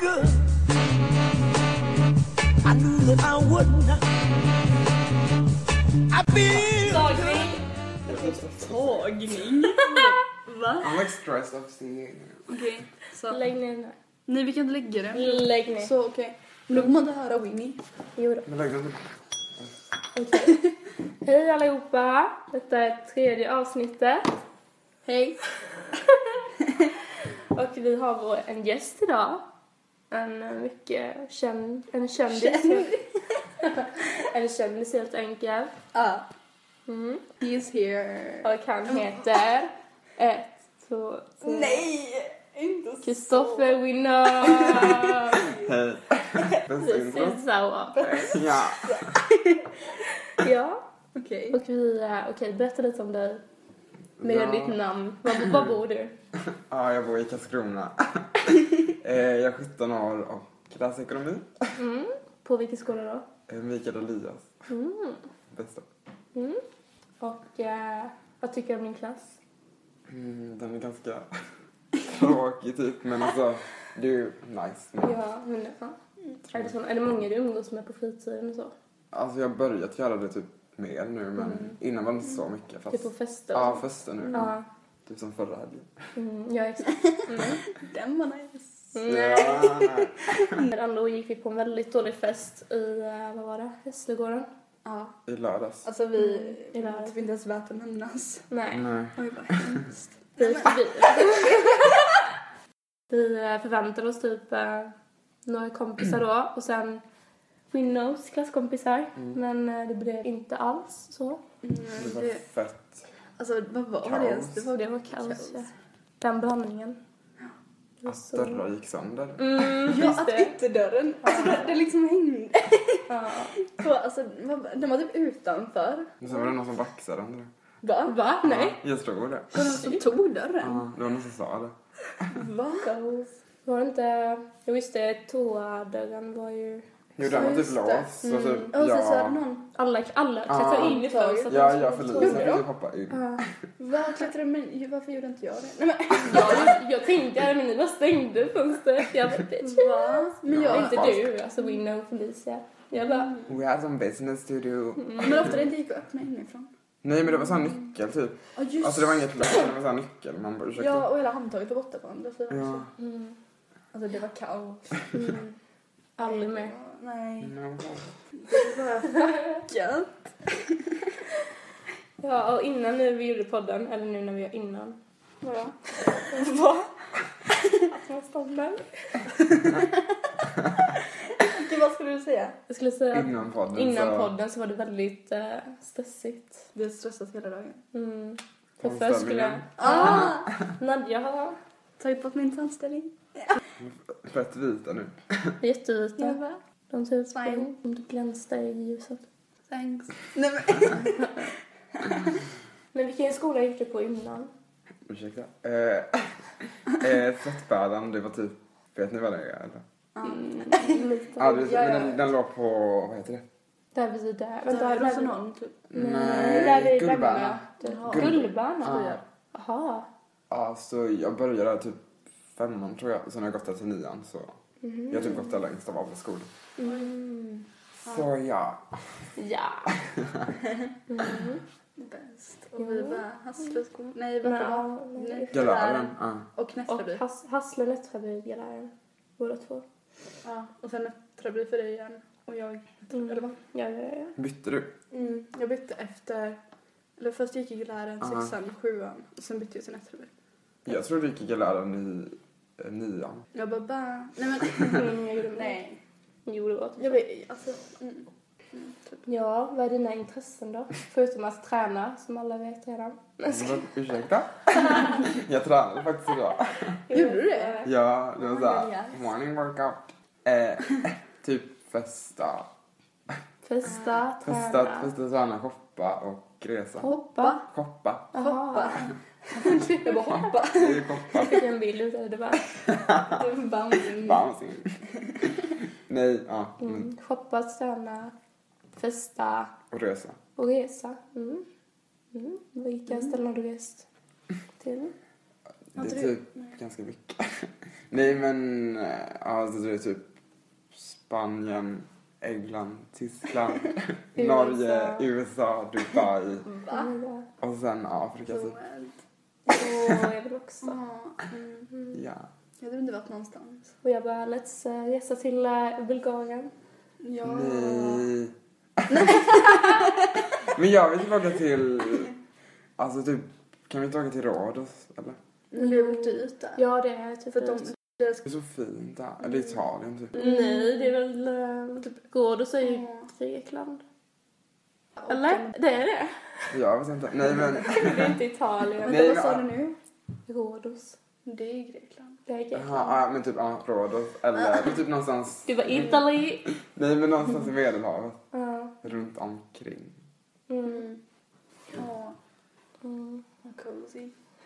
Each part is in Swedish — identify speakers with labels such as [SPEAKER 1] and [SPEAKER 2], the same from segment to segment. [SPEAKER 1] good. I knew that I would not. I feel
[SPEAKER 2] Tagning.
[SPEAKER 3] Tagning?
[SPEAKER 2] Va?
[SPEAKER 4] I'm like stressed of seeing
[SPEAKER 2] Okej. Så.
[SPEAKER 5] Lägg ner den här.
[SPEAKER 2] Nej, vi kan inte lägga den.
[SPEAKER 5] Lägg ner.
[SPEAKER 2] Så okej. Men då kommer man inte höra Winnie.
[SPEAKER 5] Jo då.
[SPEAKER 4] Men liksom- like, doesn't-
[SPEAKER 5] Hej allihopa. Detta är tredje avsnittet.
[SPEAKER 2] Hej.
[SPEAKER 5] Och vi har vår, en gäst idag. En eh, mycket känd... En kändis. en kändis helt enkelt.
[SPEAKER 2] Ja.
[SPEAKER 5] Mm.
[SPEAKER 2] He is Ah, here.
[SPEAKER 5] Och han heter... Ett, två, tre.
[SPEAKER 2] Mm. Nej! Inte så.
[SPEAKER 5] Kristoffer Winner!
[SPEAKER 4] Hej. Bästa
[SPEAKER 5] This
[SPEAKER 4] intro.
[SPEAKER 5] is our...
[SPEAKER 4] Ja.
[SPEAKER 5] Ja.
[SPEAKER 2] Okej.
[SPEAKER 5] Och vi... eh, Okej, berätta lite om dig. Mer än
[SPEAKER 4] Ja.
[SPEAKER 5] ditt namn. Var, var bor du?
[SPEAKER 4] Ja, jag bor i Karlskrona. eh, jag är 17 år och läser ekonomi.
[SPEAKER 5] Mm. På vilken skola då?
[SPEAKER 4] Eh, Mikael Elias.
[SPEAKER 5] Mm.
[SPEAKER 4] Bästa.
[SPEAKER 5] Mm. Och eh, vad tycker du om din klass?
[SPEAKER 4] Mm, den är ganska tråkig typ, men alltså det är ju nice. Men,
[SPEAKER 5] Ja, men ja. Är, det så, är det många du umgås med på fritiden och så?
[SPEAKER 4] Alltså jag har börjat göra det typ mer nu, men innan var det inte så mycket. Fast,
[SPEAKER 5] Mm. Typ på fester? och
[SPEAKER 4] ja,
[SPEAKER 5] så?
[SPEAKER 4] första nu.
[SPEAKER 5] Ja.
[SPEAKER 4] Typ som förra helgen.
[SPEAKER 5] Mm, ja, exakt. Mm.
[SPEAKER 2] Den var nice.
[SPEAKER 5] Nej.
[SPEAKER 4] Ja, nej.
[SPEAKER 5] Redan då Mm. gick vi på en väldigt dålig fest i, eh, vad var det, Hässlögården?
[SPEAKER 2] Ja.
[SPEAKER 4] I lördags.
[SPEAKER 2] Alltså vi...
[SPEAKER 5] Mm, det
[SPEAKER 2] Det
[SPEAKER 5] var
[SPEAKER 2] var
[SPEAKER 5] det.
[SPEAKER 2] typ inte ens värt att nämnas.
[SPEAKER 5] Nej.
[SPEAKER 4] Nej.
[SPEAKER 2] Oj, vad hemskt.
[SPEAKER 5] Vi gick förbi. Vi eh, förväntade oss typ eh, några kompisar då och sen Winnows klasskompisar.
[SPEAKER 4] Mm.
[SPEAKER 5] Men eh, det blev inte alls så.
[SPEAKER 4] Det
[SPEAKER 2] Mm,
[SPEAKER 4] var
[SPEAKER 2] det,
[SPEAKER 4] fett.
[SPEAKER 2] alltså, vad var det
[SPEAKER 4] Kaos.
[SPEAKER 2] ens? Det var
[SPEAKER 5] Det var kaos, ja. Den blandningen. Det var
[SPEAKER 4] Att
[SPEAKER 5] så-
[SPEAKER 4] dörrar gick sönder.
[SPEAKER 5] Mm,
[SPEAKER 2] Ja,
[SPEAKER 5] just
[SPEAKER 2] att
[SPEAKER 5] det.
[SPEAKER 2] ytterdörren, alltså det, det liksom hängde
[SPEAKER 5] Ja.
[SPEAKER 2] på, alltså vad- den var typ utanför.
[SPEAKER 4] Men sen var det någon som vaxade om det.
[SPEAKER 2] Va?
[SPEAKER 5] Va? Nej.
[SPEAKER 4] Ja, jag tror det.
[SPEAKER 2] Var det någon som tog dörren?
[SPEAKER 4] Ja, det var någon som sa det.
[SPEAKER 2] Va?
[SPEAKER 5] Kaos. Var det inte... Jo, just det. Toadörren var ju...
[SPEAKER 4] Jo, den var
[SPEAKER 2] Ja, just
[SPEAKER 4] typ
[SPEAKER 2] det.
[SPEAKER 4] låst. Så typ,
[SPEAKER 2] Och sen så hade
[SPEAKER 4] ja,
[SPEAKER 2] någon,
[SPEAKER 5] Alla, alla klättrade
[SPEAKER 4] Ja.
[SPEAKER 5] in i fönstret.
[SPEAKER 4] ja, jag förlisade
[SPEAKER 2] Gjorde de?
[SPEAKER 4] typ hoppa in.
[SPEAKER 5] Ja.
[SPEAKER 2] va klättrade men ju- varför gjorde inte jag det? Nej
[SPEAKER 5] Jag, jag tänkte, men ni bara stängde fönstret. Jag bara, bitch.
[SPEAKER 2] men va? Men
[SPEAKER 4] Ja.
[SPEAKER 2] jag,
[SPEAKER 5] Inte du, alltså Winna och Felicia. Jag bara,
[SPEAKER 4] We had some business to do.
[SPEAKER 2] men ofta det inte gick att öppna inifrån.
[SPEAKER 4] Nej, men det var sån här nyckel typ.
[SPEAKER 2] Ja just
[SPEAKER 4] Alltså det var inget lås, det var sån här nyckel. Man bara, ursäkta.
[SPEAKER 2] Ja och hela handtaget var borta på andra sidan
[SPEAKER 4] Ja.
[SPEAKER 2] också.
[SPEAKER 5] mm,
[SPEAKER 2] Alltså det var kaos.
[SPEAKER 5] mm, aldrig
[SPEAKER 2] Det
[SPEAKER 5] mer.
[SPEAKER 2] var- Nej.
[SPEAKER 4] No.
[SPEAKER 2] Det var fuckat.
[SPEAKER 5] Ja, och innan nu vi gjorde podden, eller nu när vi gör innan.
[SPEAKER 2] Vadå?
[SPEAKER 5] Va? Att man stannar.
[SPEAKER 2] Gud vad skulle du säga?
[SPEAKER 5] Jag skulle säga att
[SPEAKER 4] Innan podden
[SPEAKER 5] innan
[SPEAKER 4] så...
[SPEAKER 5] podden så var det väldigt eh, stressigt.
[SPEAKER 2] Du har stressat hela dagen.
[SPEAKER 5] Mm. För
[SPEAKER 4] Omställningen.
[SPEAKER 5] först skulle
[SPEAKER 2] Ah!
[SPEAKER 5] Nadja ha
[SPEAKER 2] Tagit bort min tandställning.
[SPEAKER 4] Fett vita nu.
[SPEAKER 2] Jag
[SPEAKER 5] jättevita.
[SPEAKER 2] bara,
[SPEAKER 5] De ser ut
[SPEAKER 2] Fine.
[SPEAKER 5] som om det glänste i ljuset.
[SPEAKER 2] thanks. Nej men
[SPEAKER 5] Men vilken skola gick du på innan?
[SPEAKER 4] Ursäkta. Eh, eh, Tvättbrädan, det var typ... Vet ni vad det är eller?
[SPEAKER 5] Mm,
[SPEAKER 4] Ja,
[SPEAKER 5] lite.
[SPEAKER 4] det,
[SPEAKER 2] ja, ja.
[SPEAKER 4] men den, den låg på... Vad heter det?
[SPEAKER 5] Där vid där.
[SPEAKER 2] Vänta,
[SPEAKER 5] Vänta,
[SPEAKER 2] är det
[SPEAKER 5] där vid...
[SPEAKER 2] rosenholm typ?
[SPEAKER 5] Nej, där vid
[SPEAKER 4] Gullbana.
[SPEAKER 5] Gullbana.
[SPEAKER 2] Jaha.
[SPEAKER 5] Gullbana?
[SPEAKER 4] Ja.
[SPEAKER 5] Jaha.
[SPEAKER 4] Ja, så jag började typ femman tror jag. Sen har jag gått där till nian så... Jag har typ gått där längst av alla skolor.
[SPEAKER 5] Mm.
[SPEAKER 4] Så ja.
[SPEAKER 5] Ja. Mm.
[SPEAKER 2] Bäst. Och vi bara Hasslöskolan. Nej, vart det var?
[SPEAKER 5] Ja, nej.
[SPEAKER 4] Galären. Ja.
[SPEAKER 2] Och
[SPEAKER 5] Och
[SPEAKER 2] Nättraby.
[SPEAKER 5] Has- Hassle och Nättraby gillar jag. Båda två.
[SPEAKER 2] Ja. Och sen Nättraby för dig igen. Och jag. Eller
[SPEAKER 5] Mm.
[SPEAKER 2] vad?
[SPEAKER 5] Ja, ja, ja.
[SPEAKER 4] Bytte du?
[SPEAKER 2] Mm. Jag bytte efter... Eller först gick jag i läraren,
[SPEAKER 4] Aha.
[SPEAKER 2] sexan, sjuan. Och sen bytte jag till Nättraby.
[SPEAKER 4] Jag tror du gick i galären i eh, nian.
[SPEAKER 2] Jag bara ba. Nej
[SPEAKER 5] Mm, jag gjorde
[SPEAKER 2] men.
[SPEAKER 5] med.
[SPEAKER 2] Nej.
[SPEAKER 5] Jo, det var typ
[SPEAKER 2] Jag
[SPEAKER 5] så.
[SPEAKER 2] vet, alltså. Mm. Mm, typ.
[SPEAKER 5] Ja, vad är dina intressen då? Förutom att träna, som alla vet redan.
[SPEAKER 4] Men, ursäkta? jag tränade faktiskt idag.
[SPEAKER 2] Gjorde du det?
[SPEAKER 4] Ja, det
[SPEAKER 2] Oh my
[SPEAKER 4] var såhär
[SPEAKER 2] God, yes.
[SPEAKER 4] morning workout. Eh, typ festa.
[SPEAKER 5] Festa,
[SPEAKER 4] Festa,
[SPEAKER 5] träna,
[SPEAKER 4] festa, träna, shoppa och resa.
[SPEAKER 5] hoppa.
[SPEAKER 4] Shoppa.
[SPEAKER 5] Jaha.
[SPEAKER 2] Jag bara hoppa.
[SPEAKER 4] Det är shoppa.
[SPEAKER 5] Jag fick en bild utav det bara.
[SPEAKER 2] Bouncing.
[SPEAKER 4] Bouncing. Nej, ja. men-
[SPEAKER 5] Mm. Shoppa, träna, festa
[SPEAKER 4] Och resa.
[SPEAKER 5] och
[SPEAKER 2] Mm.
[SPEAKER 5] resa. Mm. Mm. Vilka ställen har du rest till?
[SPEAKER 2] Har
[SPEAKER 4] Det
[SPEAKER 2] inte
[SPEAKER 4] är
[SPEAKER 2] du-
[SPEAKER 4] typ
[SPEAKER 2] nej.
[SPEAKER 4] ganska mycket. Nej men, eh, alltså det är typ Spanien, England, Tyskland, Norge, USA, Dubai
[SPEAKER 5] Mm.
[SPEAKER 4] Mm.
[SPEAKER 2] Va?
[SPEAKER 4] och sen Afrika
[SPEAKER 2] Så
[SPEAKER 4] typ.
[SPEAKER 2] allt.
[SPEAKER 5] Åh, jag vill också.
[SPEAKER 2] Ja, mm.
[SPEAKER 4] Ja.
[SPEAKER 2] Jag hade inte varit någonstans.
[SPEAKER 5] Och jag bara, let's eh, resa till eh, Bulgarien.
[SPEAKER 2] Ja.
[SPEAKER 4] Nej. men jag vill tillbaka till, alltså typ, kan vi inte åka till Rhodos eller?
[SPEAKER 2] Men det är väl dyrt där?
[SPEAKER 5] Ja, det är typ
[SPEAKER 2] För att de,
[SPEAKER 5] ett-
[SPEAKER 2] deras
[SPEAKER 4] Det är så fint där, eller
[SPEAKER 5] Mm.
[SPEAKER 4] Italien typ.
[SPEAKER 5] Nej, det är väl... eh, Typ Rhodos är ju
[SPEAKER 2] Ja.
[SPEAKER 5] Grekland. Eller? Det är det.
[SPEAKER 4] Jag vet inte. Nej men,
[SPEAKER 5] Det är inte Italien.
[SPEAKER 4] Nej,
[SPEAKER 2] Vänta, vad sa du
[SPEAKER 4] men-
[SPEAKER 2] nu?
[SPEAKER 5] Rhodos.
[SPEAKER 2] Det är Grekland.
[SPEAKER 5] Det är Grekland.
[SPEAKER 4] ja, men typ ja, Rhodos eller typ någonstans,
[SPEAKER 5] Du var Italy.
[SPEAKER 4] nej men någonstans i Medelhavet.
[SPEAKER 5] Ja.
[SPEAKER 4] Runt omkring.
[SPEAKER 5] Mm.
[SPEAKER 2] Ja,
[SPEAKER 5] Mm.
[SPEAKER 2] vad cozy.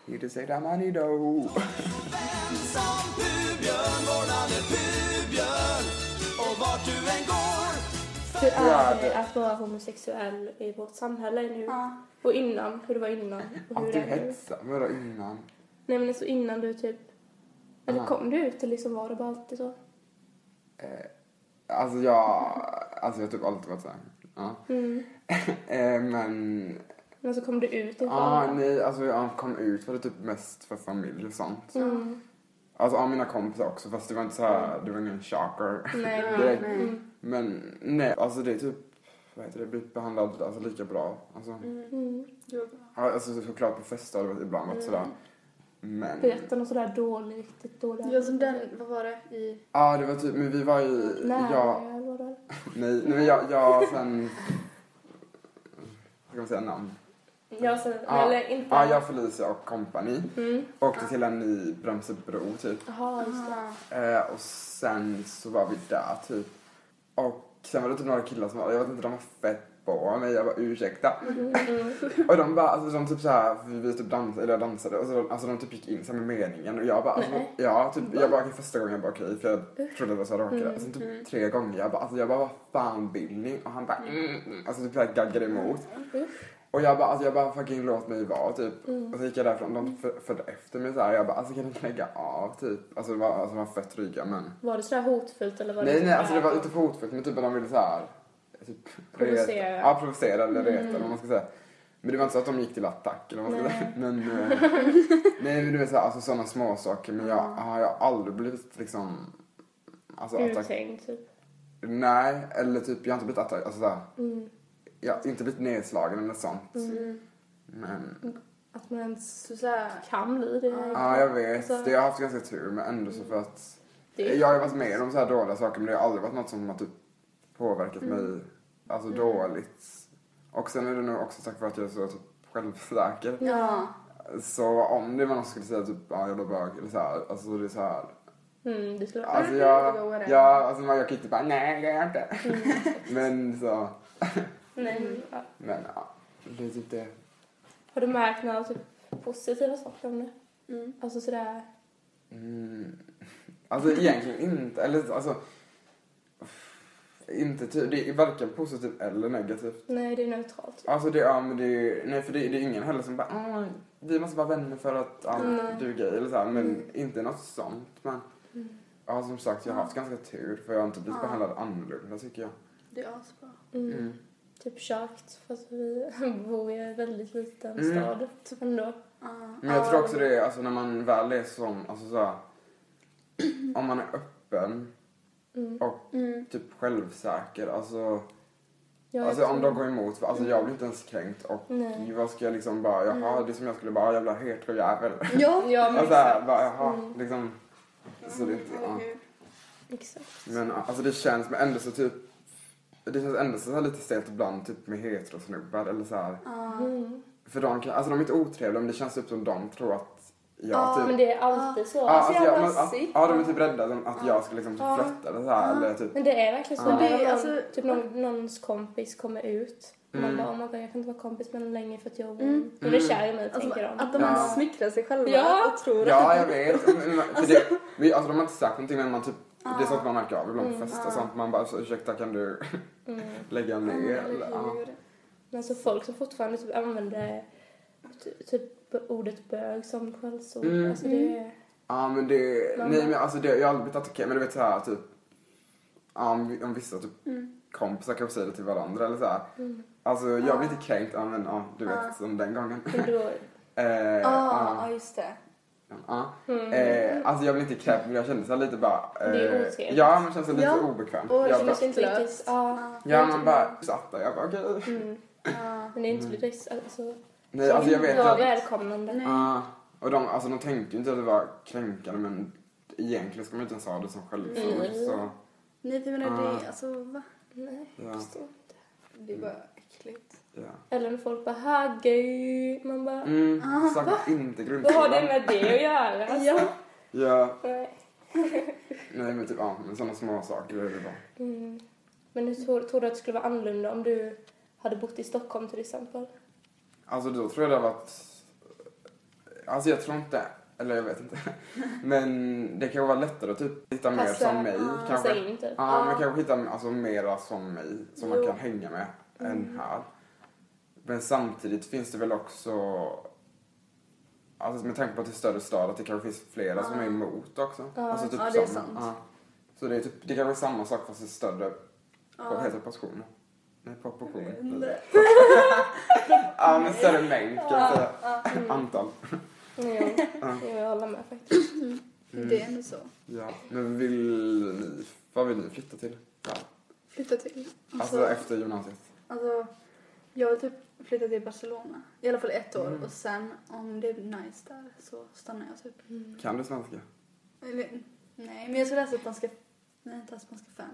[SPEAKER 4] You just say that money though.
[SPEAKER 1] Som Pubjörn, vårdnaden Pubjörn. Och vart du än går.
[SPEAKER 5] Hur
[SPEAKER 4] Ja,
[SPEAKER 5] är
[SPEAKER 4] det-
[SPEAKER 5] det att vara homosexuell i vårt samhälle nu?
[SPEAKER 2] Ja.
[SPEAKER 5] Och innan, hur det var innan och hur
[SPEAKER 4] Att du
[SPEAKER 5] det är nu?
[SPEAKER 4] hetsar. Vadå innan?
[SPEAKER 5] Nej men alltså innan du typ... Eller
[SPEAKER 4] Aha.
[SPEAKER 5] kom du ut och liksom var det bara alltid så?
[SPEAKER 4] Alltså jag, alltså jag har typ alltid varit såhär. Ja.
[SPEAKER 5] Mm.
[SPEAKER 4] Eh, men,
[SPEAKER 5] Men så kom du ut
[SPEAKER 4] ja
[SPEAKER 5] inför alla.
[SPEAKER 4] nej alltså jag kom ut var det typ mest för familj och sånt.
[SPEAKER 5] Mm.
[SPEAKER 4] Alltså av mina kompisar också fast det var inte såhär, det var ingen shocker.
[SPEAKER 5] Nej.
[SPEAKER 4] Direkt.
[SPEAKER 2] nej.
[SPEAKER 5] Mm.
[SPEAKER 4] Men nej, alltså det är typ, vad heter det, blivit behandlad alltså, lika bra. Alltså,
[SPEAKER 2] Mm.
[SPEAKER 5] Mm.
[SPEAKER 2] Det var bra.
[SPEAKER 4] ja, alltså såklart på fester har det ibland varit sådär. Men, ja
[SPEAKER 5] Berätta något sådär dåligt, riktigt dåligt.
[SPEAKER 2] Det var som den, vad var det? I...
[SPEAKER 4] det var typ, men vi var i,
[SPEAKER 5] Nej,
[SPEAKER 4] jag,
[SPEAKER 5] jag var där.
[SPEAKER 4] Nej, nej men jag, jag sen... Vad ska man säga namn?
[SPEAKER 5] Jag sen,
[SPEAKER 4] Ja.
[SPEAKER 5] eller inte.
[SPEAKER 4] Ja, jag, Felicia och kompani
[SPEAKER 5] Mm.
[SPEAKER 4] åkte till en ny Bremsebro typ.
[SPEAKER 5] Jaha, just det.
[SPEAKER 4] Eh, och sen så var vi där typ. Och sen var det typ några killar som var, jag vet inte, de var fett på mig. Jag bara ursäkta. Och de bara, alltså de typ såhär, för vi typ dansade, eller jag dansade, och så de, alltså de typ gick in så här med meningen och jag bara, alltså,
[SPEAKER 5] Nej.
[SPEAKER 4] ja typ, jag bara okej första gången jag bara okej för jag trodde det var så här råkade. Sen typ tre gånger jag bara, alltså jag bara vad fan vill ni? Och han bara, mm, mm. alltså typ jag gaggade emot. Och jag bara, alltså jag bara fucking låt mig vara typ.
[SPEAKER 5] Mm.
[SPEAKER 4] Och så gick jag därifrån, de typ fö- följde efter mig såhär, jag bara alltså kan ni lägga av typ? Alltså de var, alltså, de var fett dryga men.
[SPEAKER 5] Var det sådär hotfullt eller var det typ
[SPEAKER 4] Nej nej,
[SPEAKER 5] sådär-
[SPEAKER 4] alltså det var inte hotfullt men typ att de ville såhär typ,
[SPEAKER 5] Provocera. Mm.
[SPEAKER 4] reta- Ja, provocera eller reta eller vad man ska säga. Men det var inte så att de gick till attack eller vad man ska
[SPEAKER 5] Nej.
[SPEAKER 4] säga. Men, eh, nej men du vet såhär, alltså sådana små saker men jag har jag aldrig blivit liksom alltså attack.
[SPEAKER 5] uthängd typ.
[SPEAKER 4] Nej, eller typ jag har inte blivit attack, alltså såhär,
[SPEAKER 5] Mm.
[SPEAKER 4] jag har inte blivit nedslagen eller sånt. Men,
[SPEAKER 5] Att man ens
[SPEAKER 2] Så såhär...
[SPEAKER 5] kan bli det.
[SPEAKER 4] ja jag vet,
[SPEAKER 5] Alltså-
[SPEAKER 4] det, jag har haft ganska tur men ändå så för att
[SPEAKER 5] Det är-
[SPEAKER 4] jag har ju varit med om så här dåliga saker men det har aldrig varit något som har typ påverkat
[SPEAKER 5] Mm.
[SPEAKER 4] mig alltså dåligt. Och sen är det nog också tack vare att jag är så typ självsäker.
[SPEAKER 2] Ja.
[SPEAKER 4] Så om det var någon som skulle säga typ ja, jag är bög eller så här, alltså det är så här.
[SPEAKER 5] Mm, det skulle vara...
[SPEAKER 4] Alltså
[SPEAKER 2] Mm, det går
[SPEAKER 4] jag,
[SPEAKER 2] det.
[SPEAKER 4] jag, alltså man, jag kan inte bara nej det gör jag inte.
[SPEAKER 5] Mm.
[SPEAKER 4] men så,
[SPEAKER 5] Nej, men, ja.
[SPEAKER 4] men ja. Det är typ det.
[SPEAKER 5] Har du märkt några typ, positiva saker om det?
[SPEAKER 2] Mm.
[SPEAKER 5] Alltså sådär...
[SPEAKER 4] Mm. Alltså egentligen inte, eller alltså. Inte typ, det är varken positivt eller negativt.
[SPEAKER 5] Nej, det är neutralt.
[SPEAKER 4] Alltså det, ja, men det, är- nej för det, det är ingen heller som bara "Ah, vi måste vara vänner för att ja,
[SPEAKER 5] Nej.
[SPEAKER 4] du är gay eller så här, men
[SPEAKER 5] Mm.
[SPEAKER 4] inte något sånt. Men ja, som sagt jag har haft ganska tur för jag har inte blivit
[SPEAKER 2] Ja.
[SPEAKER 4] behandlad annorlunda tycker jag.
[SPEAKER 2] Det är asbra.
[SPEAKER 5] Mm.
[SPEAKER 4] Mm.
[SPEAKER 5] Typ kökt, fast vi bor i en väldigt liten
[SPEAKER 4] Mm.
[SPEAKER 5] stad. typ, Ändå.
[SPEAKER 2] Ja.
[SPEAKER 4] Men jag
[SPEAKER 5] Ja.
[SPEAKER 4] tror också det är alltså när man väl är som, alltså så här, om man är öppen
[SPEAKER 5] Mm.
[SPEAKER 4] och
[SPEAKER 2] Mm.
[SPEAKER 4] typ självsäker, alltså,
[SPEAKER 5] Ja, jag
[SPEAKER 4] alltså om
[SPEAKER 5] tror- Mm.
[SPEAKER 4] de går emot, alltså jag blir inte ens kränkt och
[SPEAKER 5] Nej.
[SPEAKER 4] vad ska jag liksom bara, jaha
[SPEAKER 5] Mm.
[SPEAKER 4] det är som jag skulle bara, "Ah, jävla heterojävel.
[SPEAKER 2] Ja.
[SPEAKER 5] Ja, men
[SPEAKER 4] Alltså här,
[SPEAKER 5] exakt.
[SPEAKER 4] bara jaha,
[SPEAKER 5] Mm.
[SPEAKER 4] liksom. Så det är inte, ja.
[SPEAKER 2] Herregud.
[SPEAKER 5] exakt.
[SPEAKER 4] Men alltså det känns men ändå så typ det känns ändå så här lite stelt ibland typ med heterosnubbar eller så här.
[SPEAKER 2] Ja.
[SPEAKER 5] Mm.
[SPEAKER 4] För de kan, alltså de är inte otrevliga men det känns typ som de tror att jag
[SPEAKER 2] Ja,
[SPEAKER 4] typ...
[SPEAKER 5] Men det är alltid så.
[SPEAKER 4] ja,
[SPEAKER 5] alltså,
[SPEAKER 4] alltså,
[SPEAKER 5] jag
[SPEAKER 4] jag,
[SPEAKER 5] bara
[SPEAKER 4] men, ja,
[SPEAKER 5] sitter-
[SPEAKER 4] ja, de är typ rädda som att jag ska liksom
[SPEAKER 5] Ja.
[SPEAKER 4] typ flörta eller så här eller typ...
[SPEAKER 5] Men det är verkligen så.
[SPEAKER 2] Ja.
[SPEAKER 5] När
[SPEAKER 2] Det är
[SPEAKER 5] någon,
[SPEAKER 2] alltså-
[SPEAKER 5] typ någon, någons kompis kommer ut. och Man
[SPEAKER 4] Mm.
[SPEAKER 5] bara, oh my God, jag kan inte vara kompis med någon längre för att jag
[SPEAKER 2] Mm.
[SPEAKER 5] hon är kär i mig,
[SPEAKER 2] Alltså,
[SPEAKER 5] tänker de.
[SPEAKER 2] att de
[SPEAKER 4] Ja.
[SPEAKER 2] ens smickrar sig själva
[SPEAKER 5] Ja.
[SPEAKER 2] och tror
[SPEAKER 4] Ja, jag vet. Men, men, för det, vi, alltså de har inte sagt någonting men man typ... Det är
[SPEAKER 5] Ah.
[SPEAKER 4] sånt man märker av ibland på fester och sånt. Man bara alltså, ursäkta kan du
[SPEAKER 5] Mm.
[SPEAKER 4] lägga ner? Eller, ja.
[SPEAKER 2] Herregud.
[SPEAKER 5] Men alltså folk som fortfarande typ använder ty- typ b- ordet bög som skällsord.
[SPEAKER 4] Mm.
[SPEAKER 5] Alltså det är...
[SPEAKER 4] Ja men det,
[SPEAKER 5] Mamma.
[SPEAKER 4] nej men alltså det, jag har aldrig blivit attackerad men du vet såhär typ ja, om, om vissa typ kompisar kanske säger det till varandra eller såhär. Alltså jag blir lite kränkt, ja men ja du vet
[SPEAKER 6] Ja.
[SPEAKER 4] som den gången.
[SPEAKER 5] Men då,
[SPEAKER 4] eh,
[SPEAKER 6] Ja,
[SPEAKER 4] ja,
[SPEAKER 2] ah,
[SPEAKER 6] ja, just det.
[SPEAKER 4] ja.
[SPEAKER 5] Mm.
[SPEAKER 4] eh, alltså jag blir inte kränkt men jag kände såhär lite bara. Eh,
[SPEAKER 5] Det är otrevligt.
[SPEAKER 4] Ja men det känns lite
[SPEAKER 6] Ja.
[SPEAKER 4] obekvämt.
[SPEAKER 5] och
[SPEAKER 4] jag
[SPEAKER 5] jag
[SPEAKER 4] bara,
[SPEAKER 5] känns inte
[SPEAKER 2] Plöts.
[SPEAKER 5] riktigt... Ja,
[SPEAKER 4] ja man bara satt där, jag bara okej.
[SPEAKER 5] mm.
[SPEAKER 6] Ja.
[SPEAKER 5] Men det är inte direkt alltså...
[SPEAKER 4] Nej alltså jag vet
[SPEAKER 5] Det var
[SPEAKER 4] att-
[SPEAKER 5] välkomnande.
[SPEAKER 2] Nej.
[SPEAKER 4] Ja, och de, alltså, de tänkte ju inte att det var kränkande men egentligen ska man inte ens ha det som självsord.
[SPEAKER 5] Mm.
[SPEAKER 4] Så,
[SPEAKER 2] Nej, för jag menar
[SPEAKER 4] Ah.
[SPEAKER 2] det, alltså va?
[SPEAKER 5] Nej,
[SPEAKER 4] ja,
[SPEAKER 5] förstår inte.
[SPEAKER 6] Det är bara äckligt.
[SPEAKER 4] ja.
[SPEAKER 5] Eller när folk bara “ha gay”. Man bara
[SPEAKER 4] Mm, sagt inte
[SPEAKER 5] Ah, “vad har
[SPEAKER 4] grundskolan.
[SPEAKER 5] det med det att göra?” alltså,
[SPEAKER 2] Ja.
[SPEAKER 4] Ja,
[SPEAKER 5] nej.
[SPEAKER 4] nej men typ ja, men sådana små saker är det bara.
[SPEAKER 5] Mm. Men hur tror, tror du att det skulle vara annorlunda om du hade bott i Stockholm till exempel?
[SPEAKER 4] Alltså då tror jag det har varit... Alltså jag tror inte, eller jag vet inte. Men det kan vara lättare att typ hitta mer
[SPEAKER 5] Passa-
[SPEAKER 4] som mig
[SPEAKER 5] ja,
[SPEAKER 4] kanske.
[SPEAKER 5] passa in, typ.
[SPEAKER 4] Ja,
[SPEAKER 5] Ja.
[SPEAKER 4] men kanske hitta alltså, mera som mig, som man
[SPEAKER 5] Jo.
[SPEAKER 4] kan hänga med,
[SPEAKER 2] Mm.
[SPEAKER 4] än här. Men samtidigt finns det väl också, alltså med tanke på att det är större stad, att det kanske finns flera som är emot också. alltså typ
[SPEAKER 2] ja, det är
[SPEAKER 4] samma.
[SPEAKER 2] sant.
[SPEAKER 4] Ja. Så det är typ, det kanske är samma sak fast i större, vad heter det, proportioner? Nej, proportioner. ja, men större mängd kan jag säga. Antal.
[SPEAKER 5] Mm. Jo, jo jag håller med faktiskt.
[SPEAKER 2] Mm. Det är ändå så.
[SPEAKER 4] Mm. Ja, men vill ni, vad vill ni flytta till? Ja.
[SPEAKER 2] Flytta till.
[SPEAKER 4] Alltså efter gymnasiet.
[SPEAKER 2] Alltså, jag vill typ flytta till Barcelona. I alla fall ett år.
[SPEAKER 4] Mm.
[SPEAKER 2] Och sen om det blir nice där så stannar jag typ.
[SPEAKER 4] Kan du svenska?
[SPEAKER 2] Eller, nej, men jag ska läsa spanska... Nej, inte spanska 5.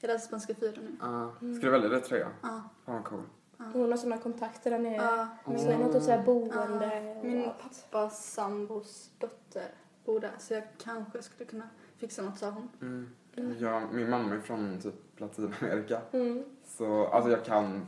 [SPEAKER 2] Jag läser spanska 4 nu.
[SPEAKER 4] Uh, Ska du välja det tror jag.
[SPEAKER 2] Ja.
[SPEAKER 4] Fan vad cool.
[SPEAKER 5] Mm. Hon har sådana kontakter där nere.
[SPEAKER 2] Ja.
[SPEAKER 5] Men typ så är det något sådär boende
[SPEAKER 2] Ja.
[SPEAKER 5] och
[SPEAKER 2] Min
[SPEAKER 5] allt.
[SPEAKER 2] pappas sambos dotter bor där så jag kanske skulle kunna fixa något, sa hon.
[SPEAKER 4] Mm. Ja, min mamma är från typ Latinamerika.
[SPEAKER 5] Mm.
[SPEAKER 4] Så alltså jag kan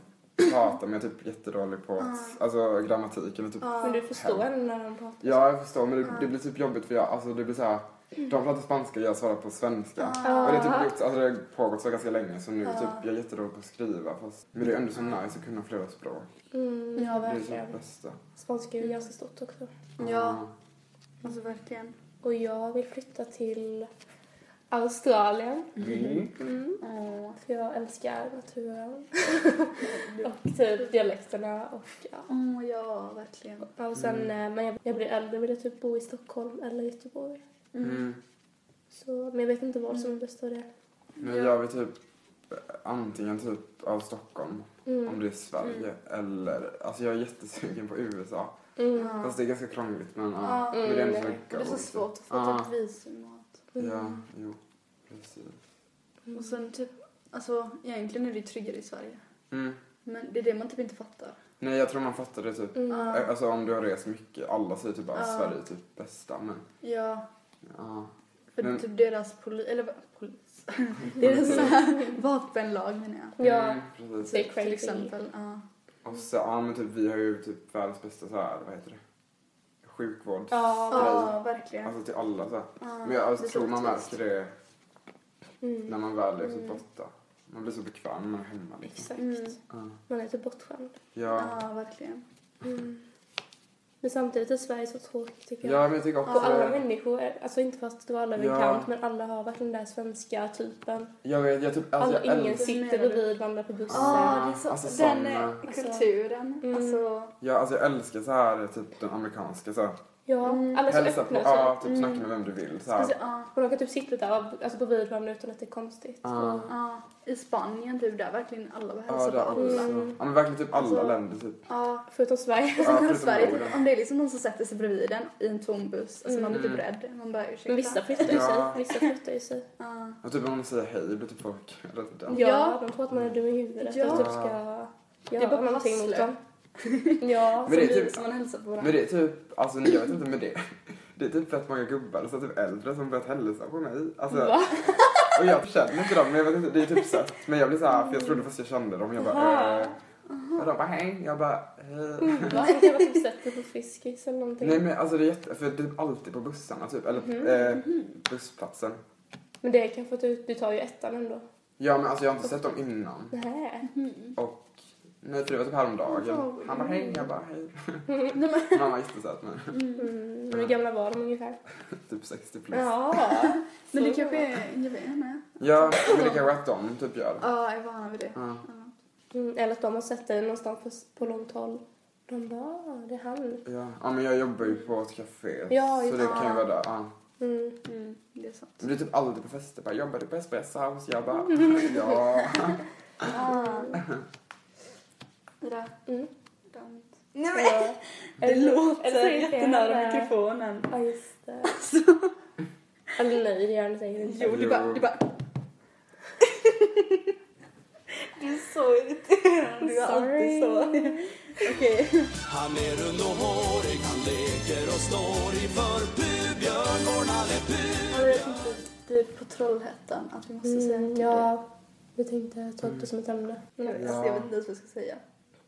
[SPEAKER 4] prata men jag är typ jättedålig på att, alltså grammatiken och
[SPEAKER 2] Ah.
[SPEAKER 4] typ.
[SPEAKER 5] Men du förstår henne när hon pratar.
[SPEAKER 4] Ja, jag förstår men det, det blir typ jobbigt för jag, alltså det blir så här. De pratar spanska, jag svarar på svenska.
[SPEAKER 2] Ah.
[SPEAKER 4] Och det, är typ gjort, alltså det har pågått så ganska länge så nu typ, jag är jättedålig på att skriva. Fast, men det är ändå så nice att kunna flera språk.
[SPEAKER 5] Mm, ja,
[SPEAKER 4] Det är typ det
[SPEAKER 5] verkligen.
[SPEAKER 4] bästa.
[SPEAKER 5] Spanska är ju ganska stort också.
[SPEAKER 2] Ja,
[SPEAKER 4] typ-
[SPEAKER 2] alltså verkligen.
[SPEAKER 5] Och jag vill flytta till Australien.
[SPEAKER 4] Mm.
[SPEAKER 2] Åh.
[SPEAKER 5] För jag älskar naturen. och typ dialekterna och ja.
[SPEAKER 2] Åh, ja, verkligen.
[SPEAKER 5] Ja, och
[SPEAKER 4] Mm.
[SPEAKER 5] sen eh, när jag, jag blir äldre vill jag typ bo i Stockholm eller Göteborg.
[SPEAKER 4] Mm.
[SPEAKER 5] Så, men jag vet inte vad som är bäst av det.
[SPEAKER 4] Men jag vill typ antingen typ av Stockholm,
[SPEAKER 5] Mm.
[SPEAKER 4] om det är Sverige, eller alltså jag är jättesugen på USA.
[SPEAKER 5] Mm.
[SPEAKER 4] Fast det är ganska krångligt men ja.
[SPEAKER 2] Ja.
[SPEAKER 4] men det är ändå så
[SPEAKER 5] Mm.
[SPEAKER 4] go.
[SPEAKER 2] Det är så svårt Mm. att få
[SPEAKER 4] Ja.
[SPEAKER 2] typ visum och allt.
[SPEAKER 4] Ja, jo. Precis.
[SPEAKER 2] Och sen typ, alltså egentligen är det ju tryggare i Sverige.
[SPEAKER 4] Mm.
[SPEAKER 2] Men det är det man typ inte fattar.
[SPEAKER 4] Nej jag tror man fattar det typ.
[SPEAKER 5] Mm.
[SPEAKER 2] Ja,
[SPEAKER 4] Alltså om du har rest mycket, alla säger typ bara
[SPEAKER 2] Ja.
[SPEAKER 4] Sverige är typ bästa men
[SPEAKER 2] ja.
[SPEAKER 4] ja.
[SPEAKER 2] För
[SPEAKER 4] Men-
[SPEAKER 2] typ deras polis, eller vad- polis. deras eh, vapenlag menar jag.
[SPEAKER 5] Ja,
[SPEAKER 4] Mm, precis.
[SPEAKER 5] det är crazy.
[SPEAKER 2] Till exempel. Ja.
[SPEAKER 4] Och så, ja men typ vi har ju typ världens bästa så här, vad heter det? Sjukvårds...
[SPEAKER 2] Ja, verkligen.
[SPEAKER 4] Alltså till alla så här.
[SPEAKER 2] Ja,
[SPEAKER 4] Men jag
[SPEAKER 2] det
[SPEAKER 4] alltså,
[SPEAKER 2] är
[SPEAKER 4] tror
[SPEAKER 2] så
[SPEAKER 4] man
[SPEAKER 2] orättvist.
[SPEAKER 4] märker det
[SPEAKER 5] Mm.
[SPEAKER 4] när man väl är typ borta. Man blir så bekväm när man är hemma liksom.
[SPEAKER 5] Exakt.
[SPEAKER 2] Mm.
[SPEAKER 4] Ja.
[SPEAKER 5] Man är typ bortskämd. Mm.
[SPEAKER 4] Ja.
[SPEAKER 2] Ja, verkligen.
[SPEAKER 5] Men samtidigt är Sverige så tråkigt tycker jag.
[SPEAKER 4] ja, men jag tycker
[SPEAKER 5] Och alla
[SPEAKER 4] också...
[SPEAKER 5] människor, är- alltså inte för att dra alla över
[SPEAKER 4] Ja.
[SPEAKER 5] en kant, men alla har verkligen den där svenska typen.
[SPEAKER 4] Jag vet, jag typ... Alltså,
[SPEAKER 5] Alla,
[SPEAKER 4] jag
[SPEAKER 5] ingen
[SPEAKER 4] älskar...
[SPEAKER 5] sitter
[SPEAKER 2] menar du?
[SPEAKER 5] bredvid varandra på bussen.
[SPEAKER 4] Ja,
[SPEAKER 2] Ja, det är så,
[SPEAKER 4] alltså
[SPEAKER 2] den
[SPEAKER 4] såna.
[SPEAKER 2] eh, kulturen.
[SPEAKER 5] Mm.
[SPEAKER 2] Alltså,
[SPEAKER 4] Ja, alltså jag älskar så här typ den amerikanska så här.
[SPEAKER 5] Ja,
[SPEAKER 2] Mm.
[SPEAKER 5] alla är så
[SPEAKER 4] Hälsa på,
[SPEAKER 5] Alltså, öppna.
[SPEAKER 4] ja,
[SPEAKER 5] så. Mm.
[SPEAKER 4] typ snacka med vem du vill så
[SPEAKER 2] alltså,
[SPEAKER 4] här.
[SPEAKER 2] ja.
[SPEAKER 5] Och de kan typ sitta där och- alltså, bredvid varandra utan att det är konstigt.
[SPEAKER 4] Ja,
[SPEAKER 2] Ja, i Spanien typ där verkligen alla var
[SPEAKER 4] ja,
[SPEAKER 2] hälsar på
[SPEAKER 4] där
[SPEAKER 2] alla.
[SPEAKER 4] också. Ja, men verkligen typ alla
[SPEAKER 2] Alltså,
[SPEAKER 4] länder typ.
[SPEAKER 2] Ja.
[SPEAKER 5] Förutom Sverige.
[SPEAKER 2] Och sen
[SPEAKER 4] Ja,
[SPEAKER 2] här i
[SPEAKER 4] förutom
[SPEAKER 2] Sverige,
[SPEAKER 4] Norden.
[SPEAKER 2] typ, om det är liksom någon som sätter sig bredvid en i en tom buss, alltså man blir
[SPEAKER 4] Mm.
[SPEAKER 2] typ rädd. Man bara ursäkta.
[SPEAKER 5] Men vissa flyttar ju
[SPEAKER 4] Ja.
[SPEAKER 5] sig. Vissa flyttar ju sig.
[SPEAKER 2] Ja.
[SPEAKER 4] Och typ om man säger hej blir typ folk rädda.
[SPEAKER 5] Ja,
[SPEAKER 2] Ja.
[SPEAKER 5] de tror att man är dum i huvudet.
[SPEAKER 2] Ja.
[SPEAKER 5] Ja. Typ ska göra
[SPEAKER 2] bara
[SPEAKER 5] någonting mot
[SPEAKER 2] hasslar.
[SPEAKER 5] dem. ja.
[SPEAKER 4] Men det är
[SPEAKER 2] Som vi-
[SPEAKER 4] typ-
[SPEAKER 2] som man hälsar på
[SPEAKER 4] Men
[SPEAKER 2] varandra.
[SPEAKER 4] det är typ, alltså jag vet inte men det. Det är typ fett många gubbar, så här, typ äldre som börjat hälsa på mig. Alltså,
[SPEAKER 5] Va?
[SPEAKER 4] och jag känner inte dem, men jag vet inte, det är typ sött. Men jag blir så här, för jag trodde först jag kände dem. Jag bara,
[SPEAKER 5] Aha.
[SPEAKER 4] eh. Och de bara hej, jag bara hej.
[SPEAKER 5] Va? Det kan vara typ sättet på Friskis eller någonting. Mhm,
[SPEAKER 4] Nej men alltså det är jätte, för det är alltid på bussarna typ, eller eh, bussplatsen.
[SPEAKER 5] Men det kan få ut, du tar ju ettan ändå.
[SPEAKER 2] Mm.
[SPEAKER 4] Ja men alltså jag har inte sett dem innan
[SPEAKER 5] Nej.
[SPEAKER 4] och Nej, för det var typ häromdagen.
[SPEAKER 5] Åh,
[SPEAKER 4] Han bara hej, jag bara hej. Mamma är jättesöt men
[SPEAKER 5] Mm. Men hur gamla var de ungefär?
[SPEAKER 4] typ 60 plus. Ja,
[SPEAKER 5] Ja.
[SPEAKER 2] Men det
[SPEAKER 5] Så.
[SPEAKER 2] kanske är en grej med.
[SPEAKER 4] men det kanske att de typ gör.
[SPEAKER 2] Ja, jag är van vid det.
[SPEAKER 4] Ja.
[SPEAKER 5] Mm, eller att de har sett dig någonstans på, på långt håll. De bara, "Ah, det är han.
[SPEAKER 4] Ja. ja, men jag jobbar ju på ett café.
[SPEAKER 5] Ja,
[SPEAKER 4] så
[SPEAKER 5] just
[SPEAKER 4] det
[SPEAKER 5] det.
[SPEAKER 4] kan ju vara där. Ja.
[SPEAKER 5] Mm.
[SPEAKER 2] Mm, det är sant.
[SPEAKER 4] Men det är typ alltid på fester. Bara, jobbar du på Espresso House? Jag bara, ja.
[SPEAKER 5] Mm.
[SPEAKER 2] Radant.
[SPEAKER 5] Nej, men.
[SPEAKER 3] Det låter
[SPEAKER 5] Eller-
[SPEAKER 3] jättenära
[SPEAKER 5] Eller-
[SPEAKER 3] mikrofonen.
[SPEAKER 5] Ja, just det. Eller nej, det gör han säkert inte.
[SPEAKER 3] Jo, det bara... Det bara
[SPEAKER 6] Du är så irriterande. Du är alltid så. Okej.
[SPEAKER 1] Han är rund och hårig, han leker och snår inför pubjörn, vår nalle pubjörn.
[SPEAKER 2] Ja, Jag tänkte typ på Trollhättan att vi måste säga typ
[SPEAKER 5] Mm,
[SPEAKER 2] något
[SPEAKER 5] ja, vi tänkte ta upp det som ett ämne.
[SPEAKER 2] om det. Jag vet, alltså, jag vet inte ens vad jag ska säga.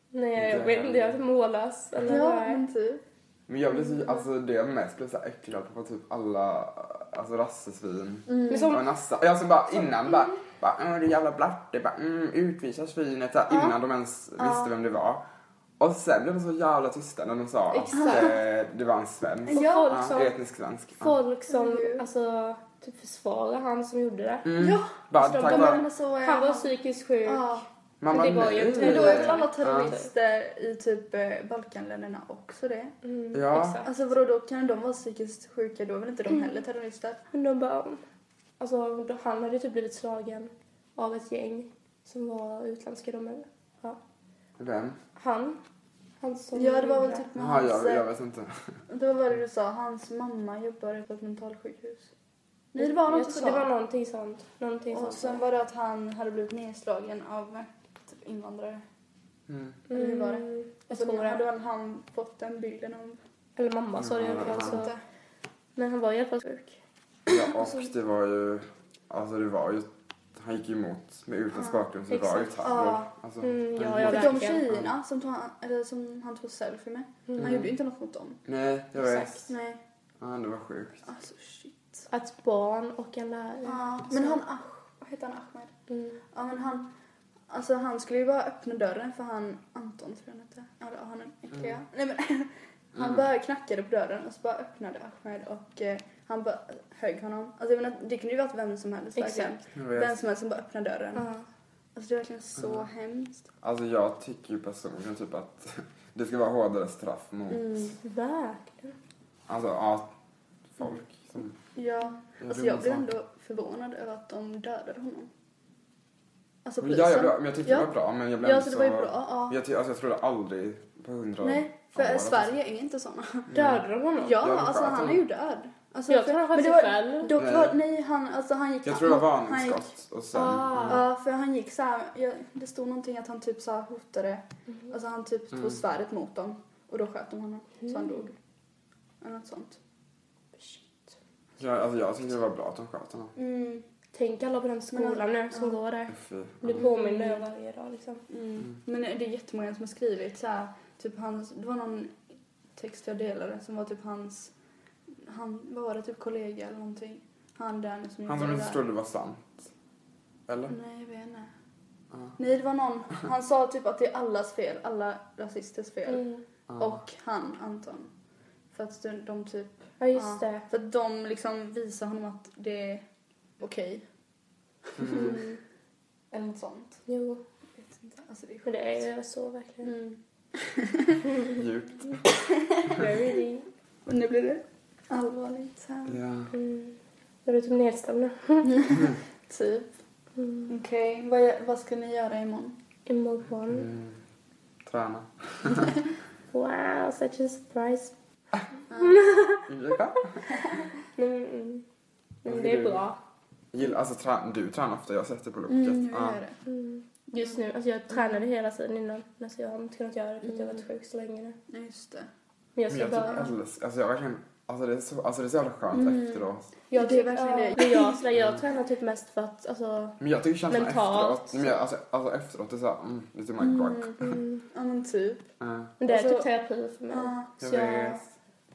[SPEAKER 5] Nej, jag vet inte. Jag är mållös. Eller
[SPEAKER 2] Ja,
[SPEAKER 5] vad är.
[SPEAKER 2] men typ.
[SPEAKER 4] Men jag blir så, alltså det jag mest blev så här äcklad på var typ alla, alltså rassesvin.
[SPEAKER 5] Men
[SPEAKER 4] Och
[SPEAKER 5] som,
[SPEAKER 4] nassa. Jag som bara
[SPEAKER 5] Mm.
[SPEAKER 4] innan bara, bara "Åh, det jävla blatte, bara mm, utvisa svinet så här, innan de ens visste vem det var. Och sen blev de så jävla tysta när de sa att
[SPEAKER 5] Exakt.
[SPEAKER 4] eh, det var en svensk.
[SPEAKER 5] som
[SPEAKER 4] Ja,
[SPEAKER 5] folk som,
[SPEAKER 4] etnisk svensk. Ja.
[SPEAKER 5] folk som
[SPEAKER 2] Mm.
[SPEAKER 5] alltså, typ försvarar han som gjorde det.
[SPEAKER 4] Mm.
[SPEAKER 2] Ja,
[SPEAKER 4] Bara,
[SPEAKER 5] de-
[SPEAKER 4] tack
[SPEAKER 5] de-
[SPEAKER 4] vare,
[SPEAKER 2] så är
[SPEAKER 5] Han var psykiskt sjuk.
[SPEAKER 2] Ja.
[SPEAKER 4] man
[SPEAKER 5] det
[SPEAKER 4] bara,
[SPEAKER 5] var ju
[SPEAKER 4] nej.
[SPEAKER 5] inte-
[SPEAKER 2] Men då är väl alla
[SPEAKER 5] Ja.
[SPEAKER 2] terrorister i typ eh, Balkanländerna också det?
[SPEAKER 5] Mm,
[SPEAKER 4] Ja.
[SPEAKER 5] Exakt.
[SPEAKER 2] Alltså vadå, då kan de vara psykiskt sjuka, då är väl inte de heller terrorister?
[SPEAKER 5] Men de bara, alltså, då- han hade typ blivit slagen av ett gäng som var utländska. De, ja.
[SPEAKER 4] Vem?
[SPEAKER 5] Han. Han som
[SPEAKER 2] Ja, det var väl
[SPEAKER 5] gjorde
[SPEAKER 2] typ med
[SPEAKER 4] Jaha,
[SPEAKER 2] hans...
[SPEAKER 4] jag, jag
[SPEAKER 2] eh,
[SPEAKER 4] vet inte.
[SPEAKER 2] Det var vad du sa, hans mamma jobbar på ett mentalsjukhus.
[SPEAKER 5] det.
[SPEAKER 2] Nej, det var
[SPEAKER 5] Jag
[SPEAKER 2] något
[SPEAKER 5] tror-
[SPEAKER 2] så.
[SPEAKER 5] Det var någonting sånt. Någonting
[SPEAKER 2] Och
[SPEAKER 5] sånt.
[SPEAKER 2] sen var det att han hade blivit nedslagen av typ invandrare.
[SPEAKER 4] Mm.
[SPEAKER 2] eller hur var det?
[SPEAKER 5] Mm,
[SPEAKER 2] Och
[SPEAKER 5] Jag
[SPEAKER 2] så
[SPEAKER 5] tror
[SPEAKER 2] hade
[SPEAKER 5] det.
[SPEAKER 2] väl han fått den bilden om...
[SPEAKER 5] Eller mamma sa det i alla fall.
[SPEAKER 4] Ja.
[SPEAKER 2] Mm.
[SPEAKER 5] så- Men han var i alla fall sjuk.
[SPEAKER 4] Ja, och det var ju, alltså det var ju, han gick ju emot med utländsk bakgrund så det var ju
[SPEAKER 5] exakt.
[SPEAKER 4] terror.
[SPEAKER 2] Ja.
[SPEAKER 4] Alltså,
[SPEAKER 5] Mm, ja,
[SPEAKER 4] mm.
[SPEAKER 5] jag
[SPEAKER 2] För
[SPEAKER 5] vet.
[SPEAKER 2] de
[SPEAKER 5] verkligen.
[SPEAKER 2] tjejerna som, tog, han- eller som han tog selfie med,
[SPEAKER 5] Mm.
[SPEAKER 2] han gjorde ju inte något mot dem.
[SPEAKER 4] Nej, jag vet.
[SPEAKER 5] Exakt.
[SPEAKER 2] Nej.
[SPEAKER 4] Ja, det var sjukt.
[SPEAKER 2] Alltså shit.
[SPEAKER 5] Att barn och en lärare.
[SPEAKER 2] Ja, men han, ah, vad heter han, Ahmed?
[SPEAKER 5] Mm.
[SPEAKER 2] Ja men han, alltså han skulle ju bara öppna dörren för han, Anton tror jag han hette. Ja, det- ja, han är äckliga.
[SPEAKER 5] Mm.
[SPEAKER 2] Nej men, han
[SPEAKER 4] Mm.
[SPEAKER 2] bara knackade på dörren och så bara öppnade Ahmed och eh, han bara högg honom. Alltså jag menar, det kunde ju varit vem som helst verkligen.
[SPEAKER 5] Exakt.
[SPEAKER 4] Jag
[SPEAKER 2] Vem
[SPEAKER 4] vet.
[SPEAKER 2] som helst som bara öppnar dörren.
[SPEAKER 5] Ja.
[SPEAKER 2] Alltså det är verkligen så hemskt.
[SPEAKER 4] Alltså jag tycker ju personligen typ att det ska vara hårdare straff mot,
[SPEAKER 2] Mm.
[SPEAKER 5] Verkligen.
[SPEAKER 4] alltså ja, folk som
[SPEAKER 2] Ja,
[SPEAKER 4] gör
[SPEAKER 2] alltså
[SPEAKER 4] dumma
[SPEAKER 2] jag blev
[SPEAKER 4] saker.
[SPEAKER 2] ändå förvånad över att de dödade honom. Alltså
[SPEAKER 4] Men Ja, jag, blev-
[SPEAKER 2] polisen.
[SPEAKER 4] men jag tyckte
[SPEAKER 2] Ja.
[SPEAKER 4] det var bra men jag blev
[SPEAKER 2] Ja,
[SPEAKER 4] ändå
[SPEAKER 2] så det var ju bra. Ja.
[SPEAKER 4] Jag, ty- alltså, jag trodde aldrig på hundra
[SPEAKER 2] Nej, för
[SPEAKER 4] år Mm. att-
[SPEAKER 2] Sverige är inte sådana.
[SPEAKER 5] Dödade de honom?
[SPEAKER 2] Ja,
[SPEAKER 4] men
[SPEAKER 2] alltså
[SPEAKER 4] sköt
[SPEAKER 2] han är
[SPEAKER 4] honom.
[SPEAKER 2] ju död. Alltså,
[SPEAKER 5] Jag tror han sköt
[SPEAKER 2] men det
[SPEAKER 5] sig
[SPEAKER 2] var-
[SPEAKER 5] själv.
[SPEAKER 2] Dock
[SPEAKER 4] Nej.
[SPEAKER 2] var, nej, han, alltså han gick...
[SPEAKER 4] Jag tror det var
[SPEAKER 2] han- han gick-
[SPEAKER 4] varningsskott och sen...
[SPEAKER 5] Ah.
[SPEAKER 2] Ja, för han gick så här, jag, det stod någonting att han typ så här hotade, alltså han typ
[SPEAKER 4] Mm.
[SPEAKER 2] tog svärdet mot dem och då sköt de honom så
[SPEAKER 5] Mm.
[SPEAKER 2] han dog. Eller något sånt.
[SPEAKER 5] Shit.
[SPEAKER 4] Ja, alltså jag tyckte det var bra att de sköt honom.
[SPEAKER 2] Mm,
[SPEAKER 5] Tänk alla på den skolan nu som går där.
[SPEAKER 4] Fy.
[SPEAKER 5] Du påminner mm. varje dag liksom.
[SPEAKER 2] mm. Men det är jättemånga som har skrivit så här, typ hans, det var någon text jag delade som var typ hans, han, vad var det, typ kollega eller någonting. Han där nu som
[SPEAKER 4] Han som
[SPEAKER 2] gjorde
[SPEAKER 4] inte
[SPEAKER 2] det där.
[SPEAKER 4] trodde det var sant. Eller?
[SPEAKER 2] Nej, jag vet inte.
[SPEAKER 4] Ja.
[SPEAKER 2] Nej, det var någon. Han sa typ att det är allas fel. Alla rasisters fel.
[SPEAKER 5] Mm.
[SPEAKER 4] Ja.
[SPEAKER 2] Och han, Anton. För att de, de typ...
[SPEAKER 5] Ja, just
[SPEAKER 2] ja,
[SPEAKER 5] det.
[SPEAKER 2] För att de liksom visar honom att det är okej.
[SPEAKER 5] Mm.
[SPEAKER 2] Eller något sånt.
[SPEAKER 5] Jo,
[SPEAKER 2] Jag vet inte. Alltså det är
[SPEAKER 5] men
[SPEAKER 2] sjukt.
[SPEAKER 5] det är ju så verkligen.
[SPEAKER 2] Mm.
[SPEAKER 4] Djupt.
[SPEAKER 5] Very deep.
[SPEAKER 2] Och nu blir det allvarligt här.
[SPEAKER 4] Ja.
[SPEAKER 5] Mm. Jag blir typ nedstämd nu.
[SPEAKER 2] Typ.
[SPEAKER 5] Mm.
[SPEAKER 2] Okej, vad, vad ska ni göra imorgon?
[SPEAKER 5] Imorgon.
[SPEAKER 4] Mm. Träna.
[SPEAKER 5] Wow, such a surprise.
[SPEAKER 4] Ursäkta?
[SPEAKER 5] Men, mm.
[SPEAKER 4] Vad
[SPEAKER 5] men
[SPEAKER 4] ska
[SPEAKER 5] det är
[SPEAKER 4] du-
[SPEAKER 5] bra.
[SPEAKER 4] Gilla, alltså trä, du tränar ofta, jag har sett det på locket.
[SPEAKER 2] Mm, nu
[SPEAKER 4] Ja.
[SPEAKER 2] gör jag det.
[SPEAKER 5] Mm. Just nu, alltså jag tränade hela tiden innan. Men alltså jag har inte kunnat göra det för att jag har
[SPEAKER 2] Mm.
[SPEAKER 5] varit sjuk så länge nu.
[SPEAKER 2] Ja, just det.
[SPEAKER 5] Men jag
[SPEAKER 4] Men
[SPEAKER 5] ska
[SPEAKER 4] jag
[SPEAKER 5] bara...
[SPEAKER 4] typ älskar, alltså jag verkligen, alltså det är så, alltså det är så jävla skönt efteråt.
[SPEAKER 5] Jag
[SPEAKER 2] Det är
[SPEAKER 5] typ,
[SPEAKER 2] verkligen
[SPEAKER 5] ja,
[SPEAKER 2] det.
[SPEAKER 5] Men jag, sådär, jag tränar typ mest för att alltså...
[SPEAKER 4] Men jag tycker känslan
[SPEAKER 5] Mentalt.
[SPEAKER 4] efteråt, men jag, alltså, alltså efteråt är såhär, mm, lite my mm.
[SPEAKER 5] Mm,
[SPEAKER 2] Ja, men typ.
[SPEAKER 5] men det är
[SPEAKER 2] Alltså-
[SPEAKER 5] typ terapi för mig.
[SPEAKER 2] Ja.
[SPEAKER 5] Så
[SPEAKER 4] jag
[SPEAKER 5] jag,
[SPEAKER 4] vet.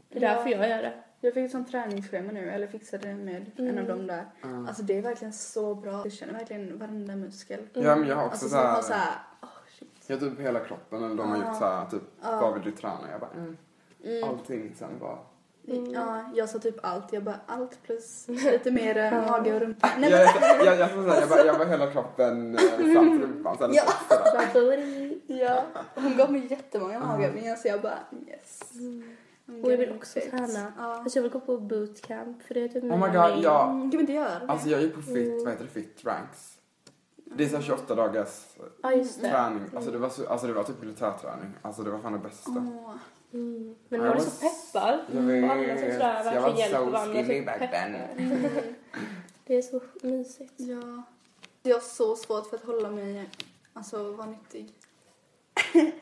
[SPEAKER 5] det är därför jag gör det.
[SPEAKER 2] Jag fick ett sånt träningsschema nu, eller fixade det med en av dem där.
[SPEAKER 4] Mm.
[SPEAKER 2] Alltså det är verkligen så bra. Du känner verkligen varenda muskel.
[SPEAKER 5] Mm.
[SPEAKER 4] Ja men jag har också
[SPEAKER 2] Alltså som
[SPEAKER 4] såhär,
[SPEAKER 2] har såhär, oh shit.
[SPEAKER 4] Ja, typ hela kroppen. Eller de har
[SPEAKER 2] Ja.
[SPEAKER 4] gjort så här, typ,
[SPEAKER 2] Ja.
[SPEAKER 4] vad vill du träna? Jag bara, mm.
[SPEAKER 2] Mm.
[SPEAKER 4] allting sen bara.
[SPEAKER 5] Mm.
[SPEAKER 2] Ja, jag sa typ allt. Jag bara allt plus lite mer eh, mage och rumpa. Nej,
[SPEAKER 4] jag, jag, jag, jag, får säga, jag, bara, jag bara hela kroppen eh, samt rumpan. Så här,
[SPEAKER 2] Ja.
[SPEAKER 4] lite sådär.
[SPEAKER 2] Mm. men, ja. Hon gav mig jättemånga magövningar så jag bara yes. Mm,
[SPEAKER 5] Och jag
[SPEAKER 2] gud,
[SPEAKER 5] vill också
[SPEAKER 2] fett.
[SPEAKER 5] träna.
[SPEAKER 2] Ja.
[SPEAKER 5] Fast Alltså, jag vill gå på bootcamp för det är typ
[SPEAKER 4] Oh my
[SPEAKER 5] min
[SPEAKER 4] god,
[SPEAKER 5] main-
[SPEAKER 4] ja.
[SPEAKER 2] Mm, kan vi inte göra det?
[SPEAKER 4] Alltså jag är ju på fit, vad heter det, fit ranks. Det är så här 28 dagars
[SPEAKER 5] Ja, just det.
[SPEAKER 4] träning. Alltså det var, så, alltså, det var typ militärträning. Alltså det var fan det bästa.
[SPEAKER 2] Åh.
[SPEAKER 5] Mm. Men
[SPEAKER 4] Ja,
[SPEAKER 5] man
[SPEAKER 4] jag
[SPEAKER 5] är
[SPEAKER 4] var
[SPEAKER 5] så peppad.
[SPEAKER 4] Jag
[SPEAKER 5] Och alla som tränar
[SPEAKER 4] jag var
[SPEAKER 5] verkligen hjälper
[SPEAKER 4] so
[SPEAKER 5] varandra.
[SPEAKER 4] skinny
[SPEAKER 5] typ
[SPEAKER 4] back
[SPEAKER 5] peppar.
[SPEAKER 4] then.
[SPEAKER 5] Det är så mysigt.
[SPEAKER 2] Ja. Jag har så svårt för att hålla mig, alltså vara nyttig. alltså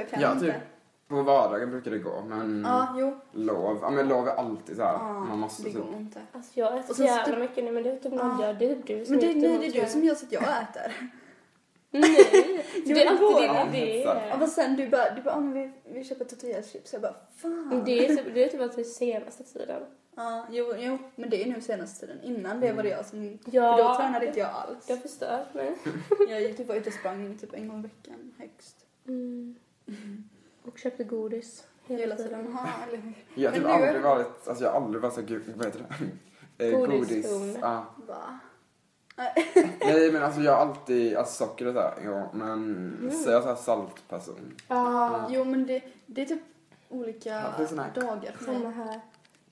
[SPEAKER 2] jag kan
[SPEAKER 4] Ja,
[SPEAKER 2] inte.
[SPEAKER 4] typ. På vardagen brukar det gå, men
[SPEAKER 2] Ja, jo.
[SPEAKER 4] lov. Ja, men lov är alltid så här.
[SPEAKER 2] Ja,
[SPEAKER 4] man måste
[SPEAKER 2] det
[SPEAKER 4] typ.
[SPEAKER 2] går inte.
[SPEAKER 5] Alltså jag äter
[SPEAKER 2] Och
[SPEAKER 5] så
[SPEAKER 2] sen så
[SPEAKER 5] jävla
[SPEAKER 2] typ-
[SPEAKER 5] mycket nu men det är typ någon
[SPEAKER 2] Ja.
[SPEAKER 5] jag, det är typ du som
[SPEAKER 2] Men det,
[SPEAKER 5] äter
[SPEAKER 2] nej,
[SPEAKER 5] något,
[SPEAKER 2] det är
[SPEAKER 5] tror
[SPEAKER 2] du
[SPEAKER 5] jag.
[SPEAKER 2] som gör så att jag äter.
[SPEAKER 5] Nej! det är alltid
[SPEAKER 2] går.
[SPEAKER 5] dina det
[SPEAKER 4] Ja,
[SPEAKER 2] Ja,
[SPEAKER 5] är-
[SPEAKER 2] men sen du bara, du bara, ah, men vi, vi köper tortillachips. Jag bara, fan.
[SPEAKER 5] det är typ, det är typ alltid senaste tiden.
[SPEAKER 2] Ja, jo, jo, men det är nu senaste tiden. Innan det var det jag som...
[SPEAKER 5] Mm. Ja.
[SPEAKER 2] För då tränade inte jag alls.
[SPEAKER 5] Det har förstört mig.
[SPEAKER 2] Jag gick typ bara ut och sprang typ en gång i veckan högst.
[SPEAKER 5] Mm. Och köpte godis
[SPEAKER 2] Hela tiden. Ja, eller hur?
[SPEAKER 4] Jag har
[SPEAKER 2] Men
[SPEAKER 4] typ
[SPEAKER 2] nu är-
[SPEAKER 4] aldrig varit, alltså jag har aldrig varit så gud, vad heter det? Eh,
[SPEAKER 5] Godistorn.
[SPEAKER 4] Ja.
[SPEAKER 2] Va?
[SPEAKER 4] Nej men alltså jag har alltid, alltså socker och sådär, ja, men
[SPEAKER 2] Mm.
[SPEAKER 4] så jag är såhär saltperson.
[SPEAKER 2] Ja, jo men det, det är typ olika
[SPEAKER 4] Ja, det är sån här-
[SPEAKER 2] dagar för
[SPEAKER 5] Samma
[SPEAKER 2] mig.
[SPEAKER 5] här.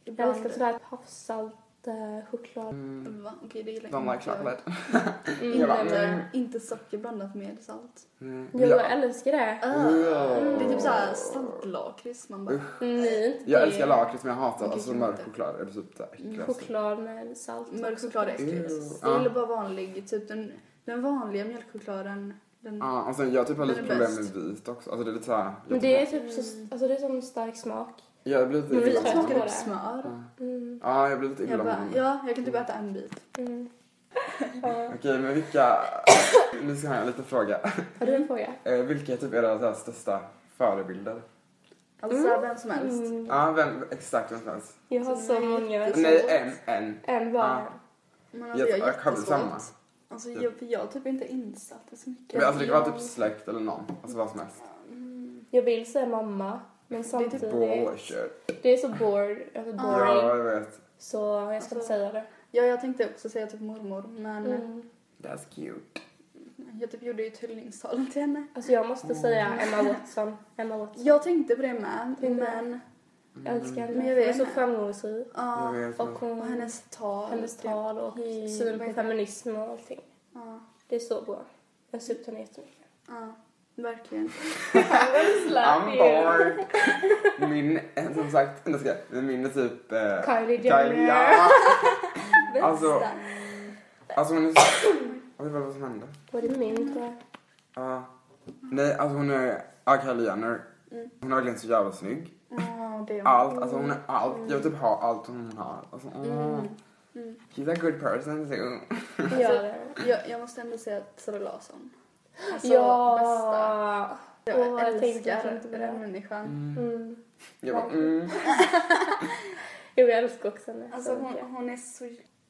[SPEAKER 5] Jag
[SPEAKER 2] Ibland.
[SPEAKER 5] älskar sådär havssalt eh, choklad.
[SPEAKER 4] Mm.
[SPEAKER 2] typ- Va? Okej, det gillar
[SPEAKER 4] Don't
[SPEAKER 2] jag
[SPEAKER 4] like chocolate.
[SPEAKER 5] Mm,
[SPEAKER 2] Inte,
[SPEAKER 4] Jag bara,
[SPEAKER 5] eller-
[SPEAKER 4] mm.
[SPEAKER 2] inte socker blandat med salt.
[SPEAKER 4] Mm.
[SPEAKER 5] Jo, jag
[SPEAKER 4] Jag,
[SPEAKER 5] älskar det.
[SPEAKER 4] Wow.
[SPEAKER 2] Det är typ såhär saltlakrits. Man bara...
[SPEAKER 5] Nej, inte
[SPEAKER 4] jag
[SPEAKER 5] Mm, det.
[SPEAKER 4] älskar lakrits men jag hatar
[SPEAKER 2] Det
[SPEAKER 4] alltså
[SPEAKER 2] tycker jag
[SPEAKER 4] mörk
[SPEAKER 2] inte. Mm,
[SPEAKER 4] choklad är det typ det äckligaste.
[SPEAKER 5] Choklad med salt.
[SPEAKER 2] Mörk choklad är
[SPEAKER 4] Ew.
[SPEAKER 2] äckligt.
[SPEAKER 4] Ja.
[SPEAKER 2] Jag gillar bara vanlig, typ den, den vanliga mjölkchokladen. Den,
[SPEAKER 4] Ja, och sen jag typ har
[SPEAKER 2] Men
[SPEAKER 4] lite
[SPEAKER 2] det är
[SPEAKER 4] problem med
[SPEAKER 2] bäst.
[SPEAKER 4] vit också. Alltså det är lite såhär. jag
[SPEAKER 5] Men
[SPEAKER 4] tycker-
[SPEAKER 5] det är typ så, alltså det är som stark smak.
[SPEAKER 4] Jag blir lite
[SPEAKER 5] Men vi
[SPEAKER 4] illa
[SPEAKER 2] jag
[SPEAKER 5] smakar
[SPEAKER 4] med
[SPEAKER 2] smakar
[SPEAKER 5] på
[SPEAKER 4] honom.
[SPEAKER 2] typ
[SPEAKER 5] det.
[SPEAKER 2] smör.
[SPEAKER 4] Ja.
[SPEAKER 5] Mm.
[SPEAKER 4] Ja, jag blir lite illa
[SPEAKER 2] Jag
[SPEAKER 4] med
[SPEAKER 2] bara,
[SPEAKER 4] honom.
[SPEAKER 2] ja, jag kan typ äta en bit.
[SPEAKER 5] Mm.
[SPEAKER 4] Okej, men vilka... Nu ska jag ha en liten fråga.
[SPEAKER 5] Har
[SPEAKER 2] Mm.
[SPEAKER 5] du en fråga?
[SPEAKER 4] Eh, vilka är typ era så här största förebilder?
[SPEAKER 2] Alltså
[SPEAKER 5] Mm.
[SPEAKER 2] vem som helst.
[SPEAKER 5] Mm.
[SPEAKER 4] Ja, vem, exakt vem som helst.
[SPEAKER 5] Jag har så
[SPEAKER 2] Nej.
[SPEAKER 5] många.
[SPEAKER 2] Det är
[SPEAKER 4] Nej,
[SPEAKER 2] så
[SPEAKER 4] en, en.
[SPEAKER 5] En bara.
[SPEAKER 2] Men alltså
[SPEAKER 4] Jag-
[SPEAKER 2] jag,
[SPEAKER 4] jag
[SPEAKER 2] är
[SPEAKER 4] kan väl
[SPEAKER 2] jättesvårt.
[SPEAKER 4] samma.
[SPEAKER 2] Alltså jag, för jag har typ inte insatt det så mycket.
[SPEAKER 4] Men alltså det kan vara typ släkt eller någon. Alltså vad som helst.
[SPEAKER 2] Mm.
[SPEAKER 5] Jag vill säga mamma. Men
[SPEAKER 4] typ
[SPEAKER 5] samtidigt.
[SPEAKER 4] Bullshit.
[SPEAKER 5] Det är så bored, alltså
[SPEAKER 2] Ja. Alltså-
[SPEAKER 5] boring.
[SPEAKER 4] Ja, jag vet.
[SPEAKER 5] Så jag ska inte säga det.
[SPEAKER 2] Ja, jag tänkte också säga typ mormor, men
[SPEAKER 5] Mm.
[SPEAKER 4] That's cute.
[SPEAKER 2] jag typ gjorde ju ett hyllningstal till henne.
[SPEAKER 5] Alltså jag måste
[SPEAKER 4] Mm.
[SPEAKER 5] säga Emma Watson. Emma Watson.
[SPEAKER 2] Jag tänkte på det med,
[SPEAKER 5] Tänkte du?
[SPEAKER 2] men...
[SPEAKER 5] Jag älskar henne.
[SPEAKER 2] Men jag
[SPEAKER 5] Hon är
[SPEAKER 2] vet.
[SPEAKER 5] så framgångsrik.
[SPEAKER 4] Mm. Jag
[SPEAKER 2] Ja,
[SPEAKER 4] vet.
[SPEAKER 5] Och,
[SPEAKER 4] men-
[SPEAKER 5] hon,
[SPEAKER 2] och
[SPEAKER 5] hennes,
[SPEAKER 2] hennes tal. typ.
[SPEAKER 5] tal och
[SPEAKER 2] Mm.
[SPEAKER 5] syn på feminism och allting.
[SPEAKER 2] Ja,
[SPEAKER 5] Det är så bra. Jag ser upp till henne jättemycket.
[SPEAKER 2] ja, verkligen.
[SPEAKER 4] I'm bored. Min, eh, som sagt, nu ska jag- men min är typ... Eh,
[SPEAKER 5] Kylie
[SPEAKER 4] Kylie-
[SPEAKER 5] Jenner.
[SPEAKER 4] Ja. Alltså, alltså hon är så... Oj, vad var det som hände?
[SPEAKER 5] Var det min tror jag?
[SPEAKER 4] Ja. nej, alltså hon är... Ja, Kylie Jenner.
[SPEAKER 2] Mm.
[SPEAKER 4] Hon är verkligen så jävla snygg.
[SPEAKER 2] Ja, det är
[SPEAKER 4] Allt, alltså hon är allt. Jag vill typ ha allt hon har. Alltså, åh.
[SPEAKER 2] Mm. Mm.
[SPEAKER 4] She's a good person too.
[SPEAKER 2] Alltså,
[SPEAKER 5] Ja. det-
[SPEAKER 2] Jag, jag måste ändå säga Sara Larsson. Alltså, bästa.
[SPEAKER 5] Ja.
[SPEAKER 2] Jag
[SPEAKER 5] Åh, jag tänkte
[SPEAKER 2] älskar
[SPEAKER 5] verkligen inte på det.
[SPEAKER 2] den människan.
[SPEAKER 5] Mm.
[SPEAKER 4] Jag bara, mm.
[SPEAKER 5] Jo, jag älskar också henne.
[SPEAKER 2] Alltså
[SPEAKER 5] så
[SPEAKER 2] hon,
[SPEAKER 5] mycket.
[SPEAKER 2] hon är så...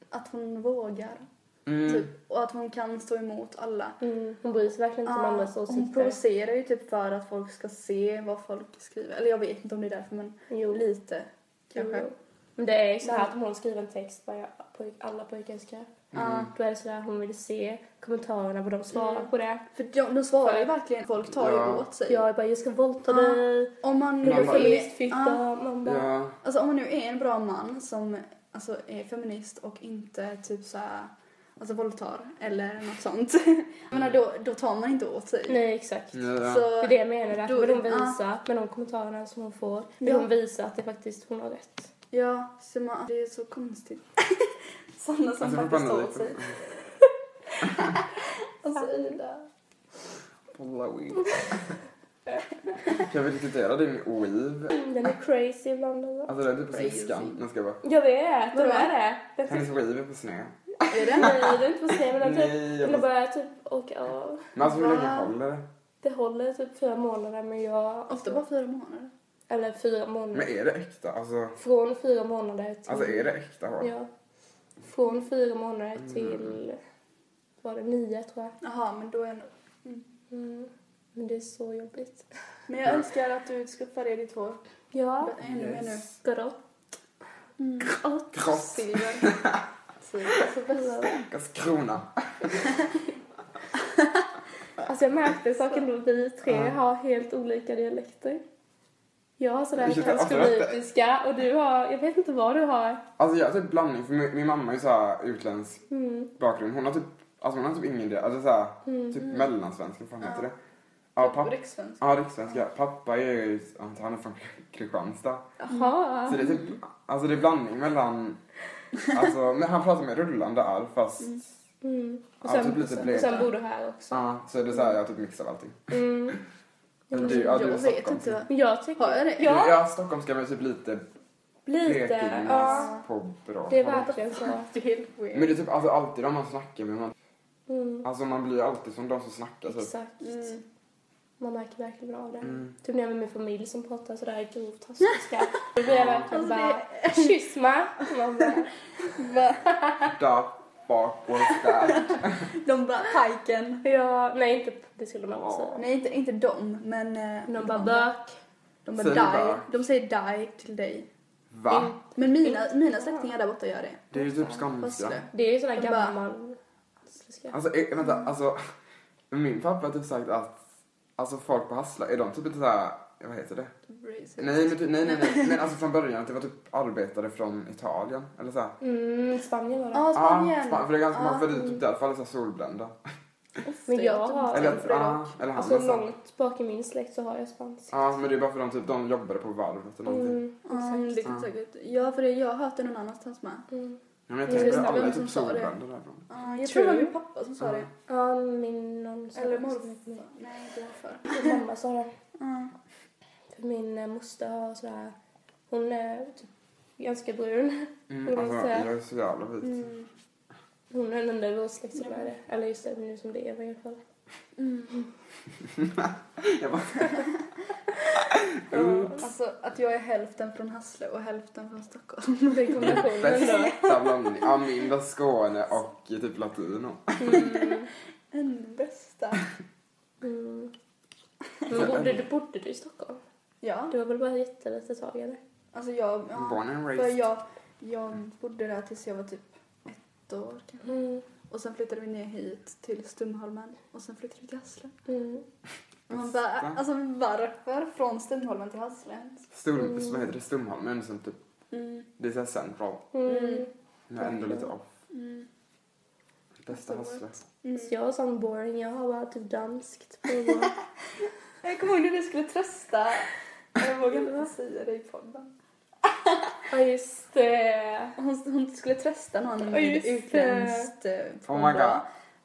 [SPEAKER 2] Att hon vågar.
[SPEAKER 4] Mm.
[SPEAKER 2] Typ, och att hon kan stå emot alla.
[SPEAKER 5] Mm. hon bryr sig verkligen inte om
[SPEAKER 2] Ja,
[SPEAKER 5] andras
[SPEAKER 2] hon
[SPEAKER 5] åsikter.
[SPEAKER 2] provocerar ju typ för att folk ska se vad folk skriver. Eller jag vet inte om det är därför men
[SPEAKER 5] Jo,
[SPEAKER 2] lite kanske. Mm.
[SPEAKER 5] Jo. Men det är ju så här
[SPEAKER 2] Men-
[SPEAKER 5] att om hon skriver en text bara pojk, alla pojkar skrev.
[SPEAKER 4] Mm.
[SPEAKER 2] Ja,
[SPEAKER 5] Då är det sådär hon vill se kommentarerna vad de svarar
[SPEAKER 2] Mm.
[SPEAKER 5] på det.
[SPEAKER 2] för de, de svarar ju verkligen, folk tar ju
[SPEAKER 4] Ja.
[SPEAKER 2] åt sig.
[SPEAKER 5] Jag är bara jag ska våldta
[SPEAKER 2] Ja.
[SPEAKER 5] dig.
[SPEAKER 2] Om, man Ah. nu
[SPEAKER 4] Man
[SPEAKER 5] Du
[SPEAKER 2] är
[SPEAKER 5] är
[SPEAKER 4] bara-
[SPEAKER 5] feminist
[SPEAKER 2] feminist,
[SPEAKER 5] fitta.
[SPEAKER 2] ja,
[SPEAKER 5] Man bara,
[SPEAKER 4] Ja.
[SPEAKER 2] alltså om man nu är en bra man som alltså, är feminist och inte typ såhär alltså våldtar eller något sånt. Jag menar då, då tar man inte åt sig.
[SPEAKER 5] Nej exakt.
[SPEAKER 4] Ja, ja.
[SPEAKER 5] Det
[SPEAKER 2] Så,
[SPEAKER 5] är det jag menar. Att
[SPEAKER 2] Då-
[SPEAKER 5] vill hon
[SPEAKER 2] ja.
[SPEAKER 5] visa med de kommentarerna som hon får. Vill
[SPEAKER 2] Ja.
[SPEAKER 5] hon visa att det faktiskt hon har rätt.
[SPEAKER 2] ja, så man, det är så konstigt. Sådana som
[SPEAKER 4] Alltså, jag får
[SPEAKER 2] faktiskt tar
[SPEAKER 4] blanda
[SPEAKER 2] åt sig.
[SPEAKER 4] lite.
[SPEAKER 2] Alltså Ida.
[SPEAKER 4] Polla weed. Kan vi diskutera din weave?
[SPEAKER 5] Mm, Den är crazy ibland alltså.
[SPEAKER 4] Alltså den är typ på
[SPEAKER 2] Crazy.
[SPEAKER 4] sliskan. Den ska bara...
[SPEAKER 5] Jag vet, den
[SPEAKER 2] Vadå?
[SPEAKER 5] är det. Den typ,
[SPEAKER 4] Hennes weave är på snö.
[SPEAKER 2] Är det?
[SPEAKER 5] nej, den är inte på scen men den typ.
[SPEAKER 4] Nej, jag
[SPEAKER 5] Den
[SPEAKER 4] måste...
[SPEAKER 5] börjar typ åka av.
[SPEAKER 4] Men alltså hur länge
[SPEAKER 2] Va?
[SPEAKER 4] håller det?
[SPEAKER 5] Det håller typ fyra månader men jag...
[SPEAKER 2] Ofta bara fyra månader.
[SPEAKER 5] Eller fyra
[SPEAKER 4] Men
[SPEAKER 5] månader.
[SPEAKER 4] är det äkta? Alltså,
[SPEAKER 5] Från fyra månader till...
[SPEAKER 4] alltså är det Mm. äkta hår?
[SPEAKER 5] Ja. Från fyra månader till... Var det nio tror jag.
[SPEAKER 2] Jaha, men då är jag nog...
[SPEAKER 5] Mm. Men det är så jobbigt.
[SPEAKER 2] Men jag önskar att du skuffar ner ditt hår.
[SPEAKER 5] Ja.
[SPEAKER 2] Ännu mer nu.
[SPEAKER 4] Yes.
[SPEAKER 5] Grått. Grått.
[SPEAKER 4] Kross.
[SPEAKER 2] Silver. Silver. Så bästa.
[SPEAKER 4] Stackars krona.
[SPEAKER 5] Alltså jag märkte saken då vi tre har helt olika dialekter. Jag har sådär
[SPEAKER 4] Ursäkta,
[SPEAKER 5] transskolitiska och du har, jag vet inte vad du har.
[SPEAKER 4] Alltså jag har typ blandning, för min, min mamma är ju såhär utländsk
[SPEAKER 5] Mm.
[SPEAKER 4] bakgrund. Hon har typ, alltså hon har typ ingen del, alltså såhär, typ mellansvenska, vad fan heter det? Ja, pappa,
[SPEAKER 2] Rikssvensk.
[SPEAKER 4] ja rikssvenska. Pappa är ju, han är från Kristianstad.
[SPEAKER 5] Jaha.
[SPEAKER 4] Så det är typ, alltså det är blandning mellan, alltså, men han pratar med rullande R fast,
[SPEAKER 5] Mm.
[SPEAKER 4] ja
[SPEAKER 5] Och, sen,
[SPEAKER 4] typ lite
[SPEAKER 5] och sen
[SPEAKER 4] blek.
[SPEAKER 5] bor du här också.
[SPEAKER 4] Ja, så är det såhär, jag typ mixar allting.
[SPEAKER 5] Mm.
[SPEAKER 4] Men du, ja, du är
[SPEAKER 2] jag vet
[SPEAKER 4] Stockholm. typ.
[SPEAKER 2] inte.
[SPEAKER 5] Men Jag tycker...
[SPEAKER 2] Har jag det?
[SPEAKER 5] Ja,
[SPEAKER 4] Ja, stockholmska men typ lite
[SPEAKER 5] lite. Ja.
[SPEAKER 4] blekingis på bra
[SPEAKER 5] Det är
[SPEAKER 4] håll.
[SPEAKER 5] verkligen så.
[SPEAKER 2] Det är helt
[SPEAKER 4] Men
[SPEAKER 2] weird.
[SPEAKER 4] det är typ alltså, alltid de man snackar med. Man,
[SPEAKER 5] Mm.
[SPEAKER 4] alltså man blir alltid som de som snackar. Typ.
[SPEAKER 5] Exakt.
[SPEAKER 2] Mm.
[SPEAKER 5] Man märker verkligen av det.
[SPEAKER 4] Mm.
[SPEAKER 5] Typ när jag är med min familj som pratar sådär grovt hasiska. Då blir jag verkligen
[SPEAKER 2] Alltså,
[SPEAKER 5] bara kyss mig. Man bara,
[SPEAKER 4] Da, backwards, där.
[SPEAKER 2] De bara piken.
[SPEAKER 5] ja, nej inte, det skulle man inte säga.
[SPEAKER 2] Nej, inte, inte de, men... eh,
[SPEAKER 5] De bara bök.
[SPEAKER 2] De bara
[SPEAKER 4] Säger de bara?
[SPEAKER 2] die. De säger die till dig.
[SPEAKER 5] Mm.
[SPEAKER 4] Va?
[SPEAKER 2] Men mina, mina släktingar där borta gör det.
[SPEAKER 4] Det är ju typ
[SPEAKER 2] Fast
[SPEAKER 4] skånska.
[SPEAKER 2] det.
[SPEAKER 5] Det är ju sån där
[SPEAKER 2] De bara-
[SPEAKER 5] gammal... Ska-
[SPEAKER 4] Alltså eh, vänta, alltså. Min pappa har typ sagt att alltså, folk på Hassla, är de typ inte såhär, vad heter det? Nej, men, typ- nej, nej, nej. Men alltså från början att det var typ arbetare från Italien. Eller såhär.
[SPEAKER 5] Mm, Spanien var det.
[SPEAKER 2] Ja, ah, Spanien.
[SPEAKER 4] Span- för det är ganska, man
[SPEAKER 2] Ah.
[SPEAKER 4] för det är typ därför alla är så här solbrända.
[SPEAKER 5] Men
[SPEAKER 2] Det är typ
[SPEAKER 5] jag
[SPEAKER 2] jättebra.
[SPEAKER 5] har...
[SPEAKER 4] Eller,
[SPEAKER 2] för det är
[SPEAKER 4] ah, eller
[SPEAKER 5] Alltså
[SPEAKER 4] han. nästan.
[SPEAKER 5] långt bak i min släkt så har jag spansk.
[SPEAKER 4] Ja, men det är bara för de typ, de jobbade på varvet eller någonting.
[SPEAKER 5] Mm,
[SPEAKER 2] Mm, det
[SPEAKER 5] exakt.
[SPEAKER 2] kan säkert. Ja, för det, jag har hört det någon annanstans med.
[SPEAKER 5] Mm.
[SPEAKER 4] Ja, men jag
[SPEAKER 5] Mm.
[SPEAKER 4] tänker
[SPEAKER 5] Just
[SPEAKER 4] att
[SPEAKER 5] det,
[SPEAKER 4] alla är
[SPEAKER 2] vem
[SPEAKER 4] typ
[SPEAKER 2] som sa det?
[SPEAKER 4] solbränder därifrån.
[SPEAKER 2] Ah, jag tror
[SPEAKER 5] True.
[SPEAKER 2] det var min pappa som sa det.
[SPEAKER 5] Ja, min någon sa
[SPEAKER 2] Eller
[SPEAKER 5] det också.
[SPEAKER 2] morfar. Nej, inte morfar.
[SPEAKER 5] Min mamma sa det.
[SPEAKER 2] Ja.
[SPEAKER 5] För min eh, moster har sådär... Hon är typ ganska brun.
[SPEAKER 4] Mm,
[SPEAKER 5] Mm,
[SPEAKER 4] alltså,
[SPEAKER 5] så.
[SPEAKER 4] jag är så jävla vit.
[SPEAKER 2] Mm.
[SPEAKER 5] Hon är den enda i vår släkt som är det. Eller just det, nu som det är i alla fall.
[SPEAKER 2] Mm.
[SPEAKER 4] Jag bara,
[SPEAKER 5] Mm.
[SPEAKER 2] Ja, Alltså att jag är hälften från Hassle och hälften från Stockholm.
[SPEAKER 5] Den kombinationen då.
[SPEAKER 4] bästa blandning. Ja, min var Skåne och typ latino.
[SPEAKER 5] Mm.
[SPEAKER 2] En bästa.
[SPEAKER 5] Mm. Men bodde du, bodde du i Stockholm?
[SPEAKER 2] Ja,
[SPEAKER 5] Du var väl bara jättelite tag eller?
[SPEAKER 2] alltså jag... Ja,
[SPEAKER 4] Born and
[SPEAKER 2] för
[SPEAKER 4] raised.
[SPEAKER 2] jag, jag bodde där tills jag var typ ett år kanske.
[SPEAKER 5] Mm.
[SPEAKER 2] Och sen flyttade vi ner hit till Stumholmen och sen flyttade vi till Hassle.
[SPEAKER 5] Mm.
[SPEAKER 2] Och Man bara, alltså varför från Stumholmen till Hassle?
[SPEAKER 4] Stor, Vad heter det? Stumholmen. Som typ,
[SPEAKER 2] Mm.
[SPEAKER 4] det är såhär central.
[SPEAKER 5] Mm.
[SPEAKER 4] Men ändå lite off.
[SPEAKER 2] Mm.
[SPEAKER 4] Bästa Hassle.
[SPEAKER 2] Mm.
[SPEAKER 5] Så jag har sån boring, jag har bara typ danskt på
[SPEAKER 2] Jag kommer ihåg när du skulle trösta. Jag vågar inte säga det i podden.
[SPEAKER 5] Ja just det.
[SPEAKER 2] Hon, hon skulle trösta någon
[SPEAKER 5] Ja,
[SPEAKER 2] med
[SPEAKER 5] just det.
[SPEAKER 2] utländskt eh,
[SPEAKER 4] Oh my god.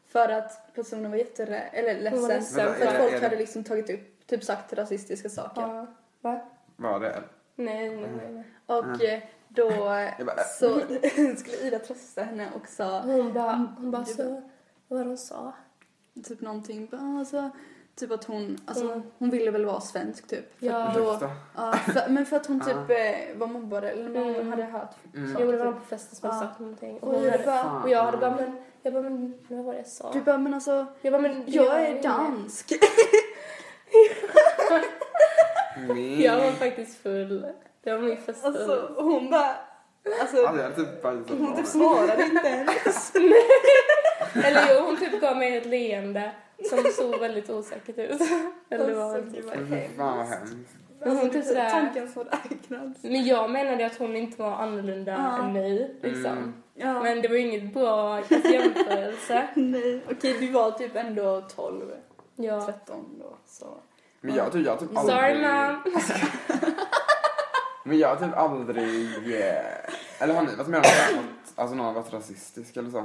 [SPEAKER 2] För att personen var jätterädd, eller
[SPEAKER 5] Hon var
[SPEAKER 2] ledsen.
[SPEAKER 5] ledsen
[SPEAKER 2] För
[SPEAKER 4] Vänta, är
[SPEAKER 2] att
[SPEAKER 4] det- är
[SPEAKER 2] folk
[SPEAKER 4] det-
[SPEAKER 2] hade liksom tagit upp, typ sagt rasistiska saker.
[SPEAKER 5] Ja. Va?
[SPEAKER 4] Var det?
[SPEAKER 5] Nej, nej, nej. nej.
[SPEAKER 2] Och eh, då
[SPEAKER 4] Jag bara, äh.
[SPEAKER 2] så skulle Ida trösta henne och sa
[SPEAKER 5] Hon bara, hon bara så, vad de sa.
[SPEAKER 2] typ någonting, bara, alltså, typ att hon, alltså
[SPEAKER 5] Mm.
[SPEAKER 2] hon ville väl vara svensk typ. För
[SPEAKER 5] Ja.
[SPEAKER 2] att då,
[SPEAKER 4] Ursäkta.
[SPEAKER 2] ja, för, men för att hon typ
[SPEAKER 4] Ja.
[SPEAKER 2] eh, var mobbad eller man
[SPEAKER 5] Mm.
[SPEAKER 2] hade hört
[SPEAKER 5] Jo
[SPEAKER 4] Mm.
[SPEAKER 5] men det var de på festen som hade
[SPEAKER 2] Ja.
[SPEAKER 5] sagt någonting. Och,
[SPEAKER 2] Och
[SPEAKER 5] hon
[SPEAKER 2] jag
[SPEAKER 5] hade,
[SPEAKER 2] bara, Mm.
[SPEAKER 5] och jag hade bara, men, jag bara, men, vad var det jag sa?
[SPEAKER 2] du bara men alltså
[SPEAKER 5] Jag bara, men,
[SPEAKER 2] jag
[SPEAKER 5] inget.
[SPEAKER 2] är dansk.
[SPEAKER 4] Min.
[SPEAKER 5] Jag var faktiskt full. Det var min första
[SPEAKER 2] Alltså hon bara, alltså
[SPEAKER 4] Alltså, jag hade typ bajsat
[SPEAKER 2] hon
[SPEAKER 4] på
[SPEAKER 2] typ
[SPEAKER 4] mig.
[SPEAKER 2] svarade inte
[SPEAKER 5] Alltså,
[SPEAKER 2] ens.
[SPEAKER 5] Eller jo, hon typ gav mig ett leende som såg väldigt osäkert ut. Eller var
[SPEAKER 2] Alltså, gud,
[SPEAKER 5] väldigt
[SPEAKER 2] vad Alltså,
[SPEAKER 5] osäkert.
[SPEAKER 4] Fy fan vad hemskt.
[SPEAKER 5] Men hon typ sådär-
[SPEAKER 2] Tanken så räknas.
[SPEAKER 5] Men jag menade att hon inte var annorlunda
[SPEAKER 2] Ja.
[SPEAKER 5] än mig. Liksom.
[SPEAKER 4] Mm.
[SPEAKER 2] Ja.
[SPEAKER 5] Men det var ju inget bra jämförelse.
[SPEAKER 2] Nej, okej du var typ ändå 12,
[SPEAKER 5] Ja.
[SPEAKER 2] 13 då så.
[SPEAKER 4] Men jag typ, jag typ aldrig...
[SPEAKER 5] Sorry mom.
[SPEAKER 4] Men jag har typ aldrig... eh, Eller har ni varit med om att alltså, någon har varit rasistisk eller så?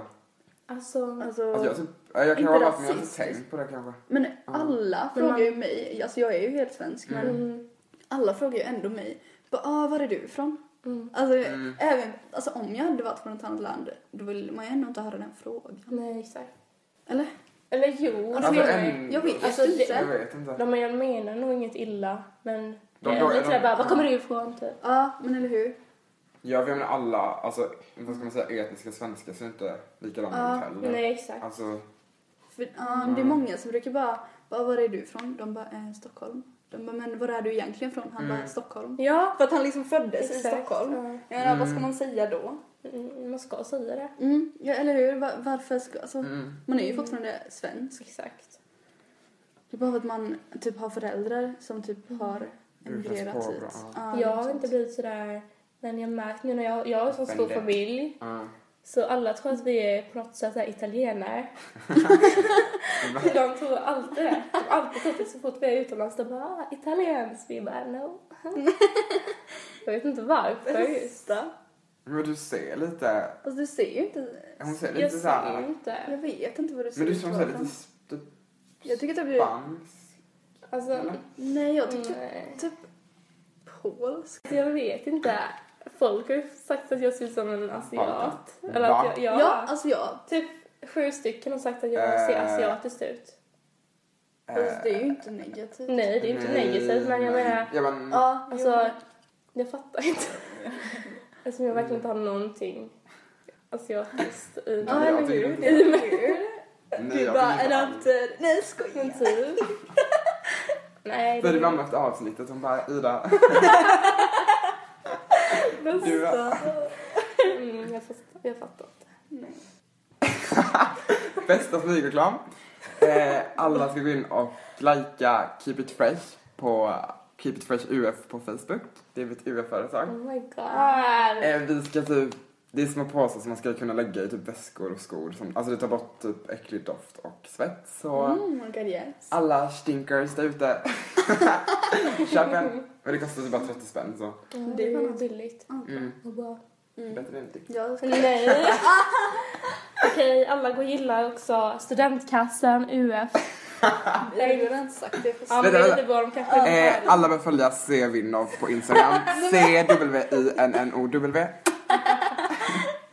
[SPEAKER 5] Alltså,
[SPEAKER 2] Alltså,
[SPEAKER 4] Alltså, jag, typ, eh, jag kan
[SPEAKER 2] Inte
[SPEAKER 4] ha varit med, jag har inte
[SPEAKER 2] rasistisk.
[SPEAKER 4] tänkt på det kanske.
[SPEAKER 2] men alla
[SPEAKER 5] Men man-
[SPEAKER 2] frågar ju mig, alltså jag är ju helt svensk men
[SPEAKER 5] mm,
[SPEAKER 2] alla frågar ju ändå mig. Bara, ah, var är du ifrån?
[SPEAKER 5] mm.
[SPEAKER 2] Alltså,
[SPEAKER 4] Mm.
[SPEAKER 2] även, alltså om jag hade varit från ett annat land då vill man ju ändå inte höra den frågan.
[SPEAKER 5] nej exakt.
[SPEAKER 2] Eller?
[SPEAKER 5] Eller jo,
[SPEAKER 2] Alltså,
[SPEAKER 5] det
[SPEAKER 2] jag-
[SPEAKER 5] menar jag.
[SPEAKER 4] en-
[SPEAKER 2] Jag vet
[SPEAKER 5] Alltså, det-
[SPEAKER 2] inte.
[SPEAKER 4] Jag vet inte.
[SPEAKER 5] de jag menar nog inget illa men
[SPEAKER 4] De
[SPEAKER 5] det är
[SPEAKER 4] frågar-
[SPEAKER 5] lite sådär
[SPEAKER 4] de-
[SPEAKER 5] bara, var kommer du ifrån typ?
[SPEAKER 2] Ja, men eller hur?
[SPEAKER 4] Ja, vi menar alla, alltså, vad ska man säga, etniska svenskar ser inte likadana ut
[SPEAKER 2] Ja,
[SPEAKER 4] heller.
[SPEAKER 5] Nej exakt.
[SPEAKER 4] Mm. Alltså,
[SPEAKER 2] För, ja, Det är många som brukar bara, bara, var är du ifrån? De bara, eh, Stockholm. De bara, men var är du egentligen från? Han bara,
[SPEAKER 4] Mm.
[SPEAKER 2] Stockholm.
[SPEAKER 5] Ja,
[SPEAKER 2] För att han liksom föddes i
[SPEAKER 5] exakt.
[SPEAKER 2] Stockholm.
[SPEAKER 5] Ja.
[SPEAKER 2] Jag menar, vad ska
[SPEAKER 4] Mm.
[SPEAKER 2] man säga då?
[SPEAKER 5] Mm, Man ska säga det.
[SPEAKER 2] Mm, ja, eller hur? Va- varför ska, alltså,
[SPEAKER 4] Mm.
[SPEAKER 2] man är ju fortfarande svensk.
[SPEAKER 5] Exakt.
[SPEAKER 2] Det är bara för att man typ har föräldrar som typ har
[SPEAKER 4] Du känns
[SPEAKER 2] emigrerat
[SPEAKER 4] på
[SPEAKER 2] hit.
[SPEAKER 4] bra.
[SPEAKER 2] Ja,
[SPEAKER 5] jag har
[SPEAKER 2] något
[SPEAKER 5] inte
[SPEAKER 2] sånt.
[SPEAKER 5] blivit sådär... Men jag har märkt nu när jag, jag har en sån stor
[SPEAKER 4] Offended.
[SPEAKER 5] familj
[SPEAKER 4] Ja.
[SPEAKER 5] så alla tror att vi är på något sätt såhär italienare. de tror alltid det. De har alltid trott det så fort vi är utomlands. De bara ah, italiensk. Vi bara no. jag vet inte varför just.
[SPEAKER 4] Men du ser lite,
[SPEAKER 2] Alltså du ser ju inte...
[SPEAKER 4] hon ser lite
[SPEAKER 5] Jag
[SPEAKER 4] så
[SPEAKER 5] ser
[SPEAKER 4] här.
[SPEAKER 2] Jag
[SPEAKER 5] inte.
[SPEAKER 2] vet inte vad du ser
[SPEAKER 4] Men du
[SPEAKER 2] ut
[SPEAKER 4] ser hon
[SPEAKER 2] vara
[SPEAKER 4] ser lite
[SPEAKER 2] från.
[SPEAKER 4] sp-
[SPEAKER 2] Jag tycker typ... Du,
[SPEAKER 4] spansk. Mm.
[SPEAKER 5] Alltså,
[SPEAKER 2] nej, jag tycker typ,
[SPEAKER 5] nej.
[SPEAKER 2] typ polsk.
[SPEAKER 5] Alltså, Jag vet inte. Folk har ju sagt att jag ser ut som en asiat.
[SPEAKER 4] Va?
[SPEAKER 5] Eller att jag,
[SPEAKER 2] Ja,
[SPEAKER 5] ja.
[SPEAKER 2] alltså jag...
[SPEAKER 5] Typ sju stycken har sagt att jag ser
[SPEAKER 4] Äh.
[SPEAKER 5] asiatisk ut.
[SPEAKER 2] Alltså, det är ju
[SPEAKER 4] Eh,
[SPEAKER 2] inte negativt.
[SPEAKER 5] Nej, det är inte negativt men jag
[SPEAKER 4] nej.
[SPEAKER 5] menar
[SPEAKER 4] Ja, men,
[SPEAKER 2] Ja,
[SPEAKER 5] Alltså,
[SPEAKER 2] jo.
[SPEAKER 5] jag fattar inte. Eftersom jag verkligen inte har någonting asiatiskt i
[SPEAKER 4] Ja,
[SPEAKER 2] Ja,
[SPEAKER 5] mig.
[SPEAKER 2] eller hur? Det är ju
[SPEAKER 4] nej,
[SPEAKER 2] Du
[SPEAKER 4] jag
[SPEAKER 2] bara,
[SPEAKER 4] kan
[SPEAKER 2] är
[SPEAKER 4] inte-
[SPEAKER 2] allt... Nej, skoja.
[SPEAKER 5] Men typ. Nej,
[SPEAKER 4] Det är
[SPEAKER 5] det
[SPEAKER 4] det mamma efter avsnittet, hon bara Ida,
[SPEAKER 5] Men-
[SPEAKER 4] du
[SPEAKER 5] Mm, jag, fattar, jag fattar inte.
[SPEAKER 2] Nej.
[SPEAKER 4] Bästa smygreklam. Eh, alla ska gå in och likea Keep It Fresh på Keep It Fresh UF på Facebook. Det är mitt UF-företag.
[SPEAKER 5] Oh my god.
[SPEAKER 4] Eh, vi ska typ, det är små påsar som man ska kunna lägga i typ väskor och skor. Som, alltså det tar bort typ äcklig doft och svett. Så
[SPEAKER 2] Mm, my god, yes.
[SPEAKER 4] alla stinkers där ute, köp en. Men det kostar typ bara 30 spänn så.
[SPEAKER 5] Ja,
[SPEAKER 2] det
[SPEAKER 5] det
[SPEAKER 2] är
[SPEAKER 5] är ju
[SPEAKER 2] fan-
[SPEAKER 5] billigt.
[SPEAKER 4] Mm.
[SPEAKER 5] Och bara-
[SPEAKER 2] Mm.
[SPEAKER 4] Bättre än ingenting.
[SPEAKER 2] Jag ska...
[SPEAKER 5] Nej. Okej, alla går och gillar också Studentkassen, UF.
[SPEAKER 2] Jag har ju redan sagt det. För...
[SPEAKER 5] Ja, men det
[SPEAKER 4] Vänta, vänta.
[SPEAKER 5] är lite vad de kanske inte
[SPEAKER 4] Eh,
[SPEAKER 5] har.
[SPEAKER 4] alla bör följa C. Winnov på Instagram. C-W-I-N-N-O-W.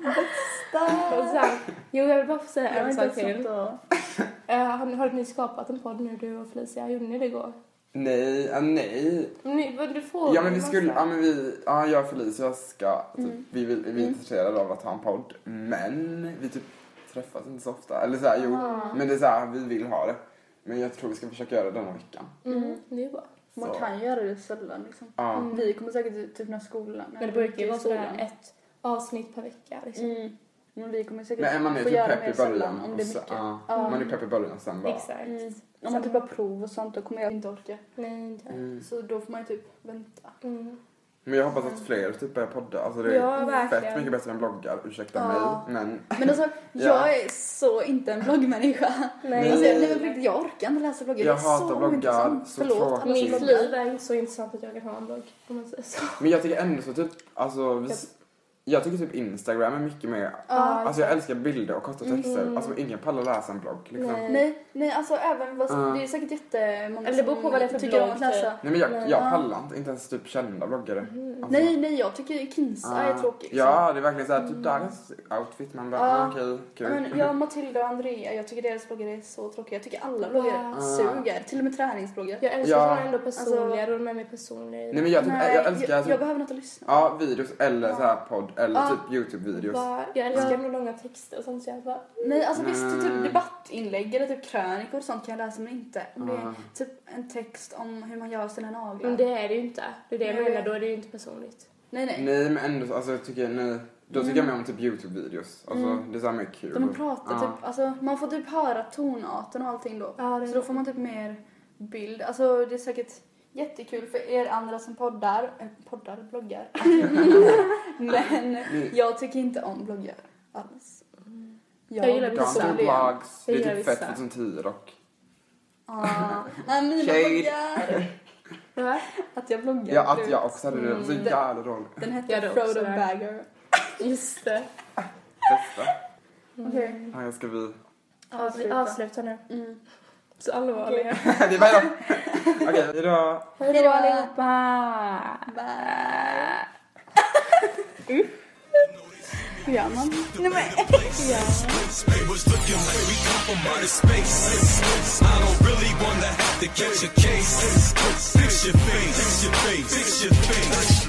[SPEAKER 5] Och sen- Jo, jag vill bara få säga
[SPEAKER 2] Jag har
[SPEAKER 5] en
[SPEAKER 2] inte
[SPEAKER 5] sak
[SPEAKER 2] ens
[SPEAKER 5] till.
[SPEAKER 2] något att...
[SPEAKER 5] Eh, har, ni- har ni skapat en podd nu du och Felicia? Gjorde ni det igår?
[SPEAKER 4] Nej, ja, nej.
[SPEAKER 5] Ni, vad du får
[SPEAKER 4] Ja men vi
[SPEAKER 5] massa-
[SPEAKER 4] skulle, ja men vi, ja jag och Felicia ska, typ,
[SPEAKER 2] Mm.
[SPEAKER 4] vi, vill, vi är intresserade av att ha en podd. Men vi typ träffas inte så ofta. Eller såhär jo,
[SPEAKER 5] Ah.
[SPEAKER 4] men det är såhär vi vill ha det. Men jag tror vi ska försöka göra det denna veckan.
[SPEAKER 5] Mm, det är bra.
[SPEAKER 4] Så.
[SPEAKER 2] Man kan göra det sällan liksom.
[SPEAKER 4] Ja.
[SPEAKER 5] Mm.
[SPEAKER 2] Vi kommer säkert ut typ när skolan...
[SPEAKER 5] Men det brukar ju vara sådär
[SPEAKER 2] skolan.
[SPEAKER 5] Typ ett avsnitt per vecka. Liksom.
[SPEAKER 2] Mm. Men vi kommer säkert
[SPEAKER 4] Men är man är
[SPEAKER 2] få
[SPEAKER 4] typ
[SPEAKER 2] göra
[SPEAKER 4] pepp
[SPEAKER 2] mer
[SPEAKER 4] i
[SPEAKER 2] sällan
[SPEAKER 4] början.
[SPEAKER 2] om
[SPEAKER 4] och
[SPEAKER 2] det är
[SPEAKER 4] så-
[SPEAKER 2] mycket.
[SPEAKER 4] ja.
[SPEAKER 2] Ja.
[SPEAKER 4] Man är pepp i början och sen bara.
[SPEAKER 5] Exakt.
[SPEAKER 2] Mm. Om man typ har prov och sånt då kommer jag inte orka.
[SPEAKER 5] Nej, inte jag.
[SPEAKER 4] Mm.
[SPEAKER 2] Så då får man ju typ vänta.
[SPEAKER 5] Mm.
[SPEAKER 4] Men jag hoppas att fler typ börjar podda. Alltså det är
[SPEAKER 5] Ja,
[SPEAKER 4] fett
[SPEAKER 5] verkligen.
[SPEAKER 4] mycket bättre än bloggar. Ursäkta
[SPEAKER 2] Ja.
[SPEAKER 4] mig men.
[SPEAKER 2] Men alltså,
[SPEAKER 4] Ja.
[SPEAKER 2] jag är så inte en bloggmänniska.
[SPEAKER 5] Nej.
[SPEAKER 2] Alltså, jag, nej, men på riktigt, jag orkar inte läsa bloggar.
[SPEAKER 4] Jag
[SPEAKER 2] det är
[SPEAKER 4] hatar
[SPEAKER 2] så
[SPEAKER 4] bloggar,
[SPEAKER 2] ointressant.
[SPEAKER 4] så
[SPEAKER 2] Förlåt
[SPEAKER 4] tråkigt.
[SPEAKER 2] alla som
[SPEAKER 5] Mitt
[SPEAKER 2] bloggar.
[SPEAKER 5] liv Alltså, är inte så intressant att jag kan ha en blogg. Om man säger så.
[SPEAKER 4] Men jag tycker ändå så typ, alltså. Vi, jag tycker typ Instagram är mycket mer
[SPEAKER 2] Ja.
[SPEAKER 4] Alltså jag älskar bilder och korta texter.
[SPEAKER 5] Mm.
[SPEAKER 4] Alltså ingen pallar läsa en blogg liksom. Nej,
[SPEAKER 5] Nej.
[SPEAKER 2] Nej, nej, alltså även vad,
[SPEAKER 4] Ja.
[SPEAKER 2] det är säkert jättemånga
[SPEAKER 5] Eller det beror på vad det är för
[SPEAKER 2] tycker om
[SPEAKER 5] blogg, typ.
[SPEAKER 2] att läsa.
[SPEAKER 4] men jag,
[SPEAKER 5] Nej.
[SPEAKER 4] jag pallar inte, inte ens typ kända bloggare.
[SPEAKER 5] Mm.
[SPEAKER 4] Alltså,
[SPEAKER 2] Mm. Nej, nej, jag tycker Kinsa
[SPEAKER 4] ah.
[SPEAKER 2] är tråkig. liksom.
[SPEAKER 4] Ja, det är verkligen såhär typ dagens outfit. Man bara,
[SPEAKER 2] Ja.
[SPEAKER 4] ah, okej,
[SPEAKER 2] Ja,
[SPEAKER 4] kul.
[SPEAKER 2] Men jag, Matilda och Andrea, jag tycker deras bloggar är så tråkiga. Jag tycker alla bloggar
[SPEAKER 5] Wow.
[SPEAKER 2] suger. Till och med träningsbloggar.
[SPEAKER 5] Jag älskar
[SPEAKER 4] Ja.
[SPEAKER 5] ja. ändå personliga och de är mer personliga. i
[SPEAKER 4] Nej men jag, typ,
[SPEAKER 2] Nej,
[SPEAKER 4] jag älskar
[SPEAKER 2] jag,
[SPEAKER 4] typ,
[SPEAKER 2] jag behöver något att lyssna på.
[SPEAKER 4] ja, videos eller så här podd eller
[SPEAKER 2] Ja.
[SPEAKER 4] typ Youtube-videos.
[SPEAKER 5] Bara, jag älskar ändå långa texter och sånt. Så jag bara,
[SPEAKER 2] Nej, alltså visst,
[SPEAKER 4] Nej.
[SPEAKER 2] typ debattinlägg eller typ krönikor och sånt kan jag läsa men inte om det är
[SPEAKER 4] Ja.
[SPEAKER 2] typ en text om hur man gör sina naglar.
[SPEAKER 5] men det är det ju inte. Det är det jag
[SPEAKER 2] Nej.
[SPEAKER 5] menar, då är det ju inte personligt.
[SPEAKER 2] Nej, nej.
[SPEAKER 4] Nej men ändå, alltså jag tycker, nej. Då tycker jag mer om typ Youtube-videos. Alltså
[SPEAKER 2] Mm.
[SPEAKER 4] det är såhär mer kul.
[SPEAKER 2] De pratar
[SPEAKER 4] Ja.
[SPEAKER 2] typ, alltså man får typ höra tonarten och allting då.
[SPEAKER 5] Ja, det
[SPEAKER 2] Så då får man typ mer bild. Alltså det är säkert jättekul för er andra som poddar, eh, poddar, bloggar. men jag tycker inte om bloggar alls.
[SPEAKER 5] Mm. Jag gillar
[SPEAKER 4] Ja,
[SPEAKER 5] vissa.
[SPEAKER 4] typ
[SPEAKER 2] det.
[SPEAKER 4] blogs. Det
[SPEAKER 5] gör
[SPEAKER 4] är typ fett
[SPEAKER 5] vissa.
[SPEAKER 4] 2010 dock.
[SPEAKER 2] Ah, nej, mina
[SPEAKER 4] Shade.
[SPEAKER 2] bloggar.
[SPEAKER 5] Ja.
[SPEAKER 2] Att jag bloggar.
[SPEAKER 4] Ja, Mm. att
[SPEAKER 2] förut.
[SPEAKER 4] jag också hade det. Det var Så jävla dåligt.
[SPEAKER 2] Den
[SPEAKER 5] Jag
[SPEAKER 2] hette
[SPEAKER 5] hade också
[SPEAKER 2] Frodo
[SPEAKER 5] det.
[SPEAKER 2] Bagger.
[SPEAKER 5] Just det. Mm.
[SPEAKER 4] Bästa.
[SPEAKER 2] Okej.
[SPEAKER 4] Ja, jag ska vi.
[SPEAKER 5] Ja, vi avslutar nu.
[SPEAKER 2] Mm.
[SPEAKER 5] Så allvarliga.
[SPEAKER 4] det är bara idag. Okej, idag.
[SPEAKER 5] Hej då allihopa!
[SPEAKER 2] Bye. Hur gör man?
[SPEAKER 1] It was looking like we compromised space. I don't really wanna have to catch a case. Fix your face, fix your face, fix your face.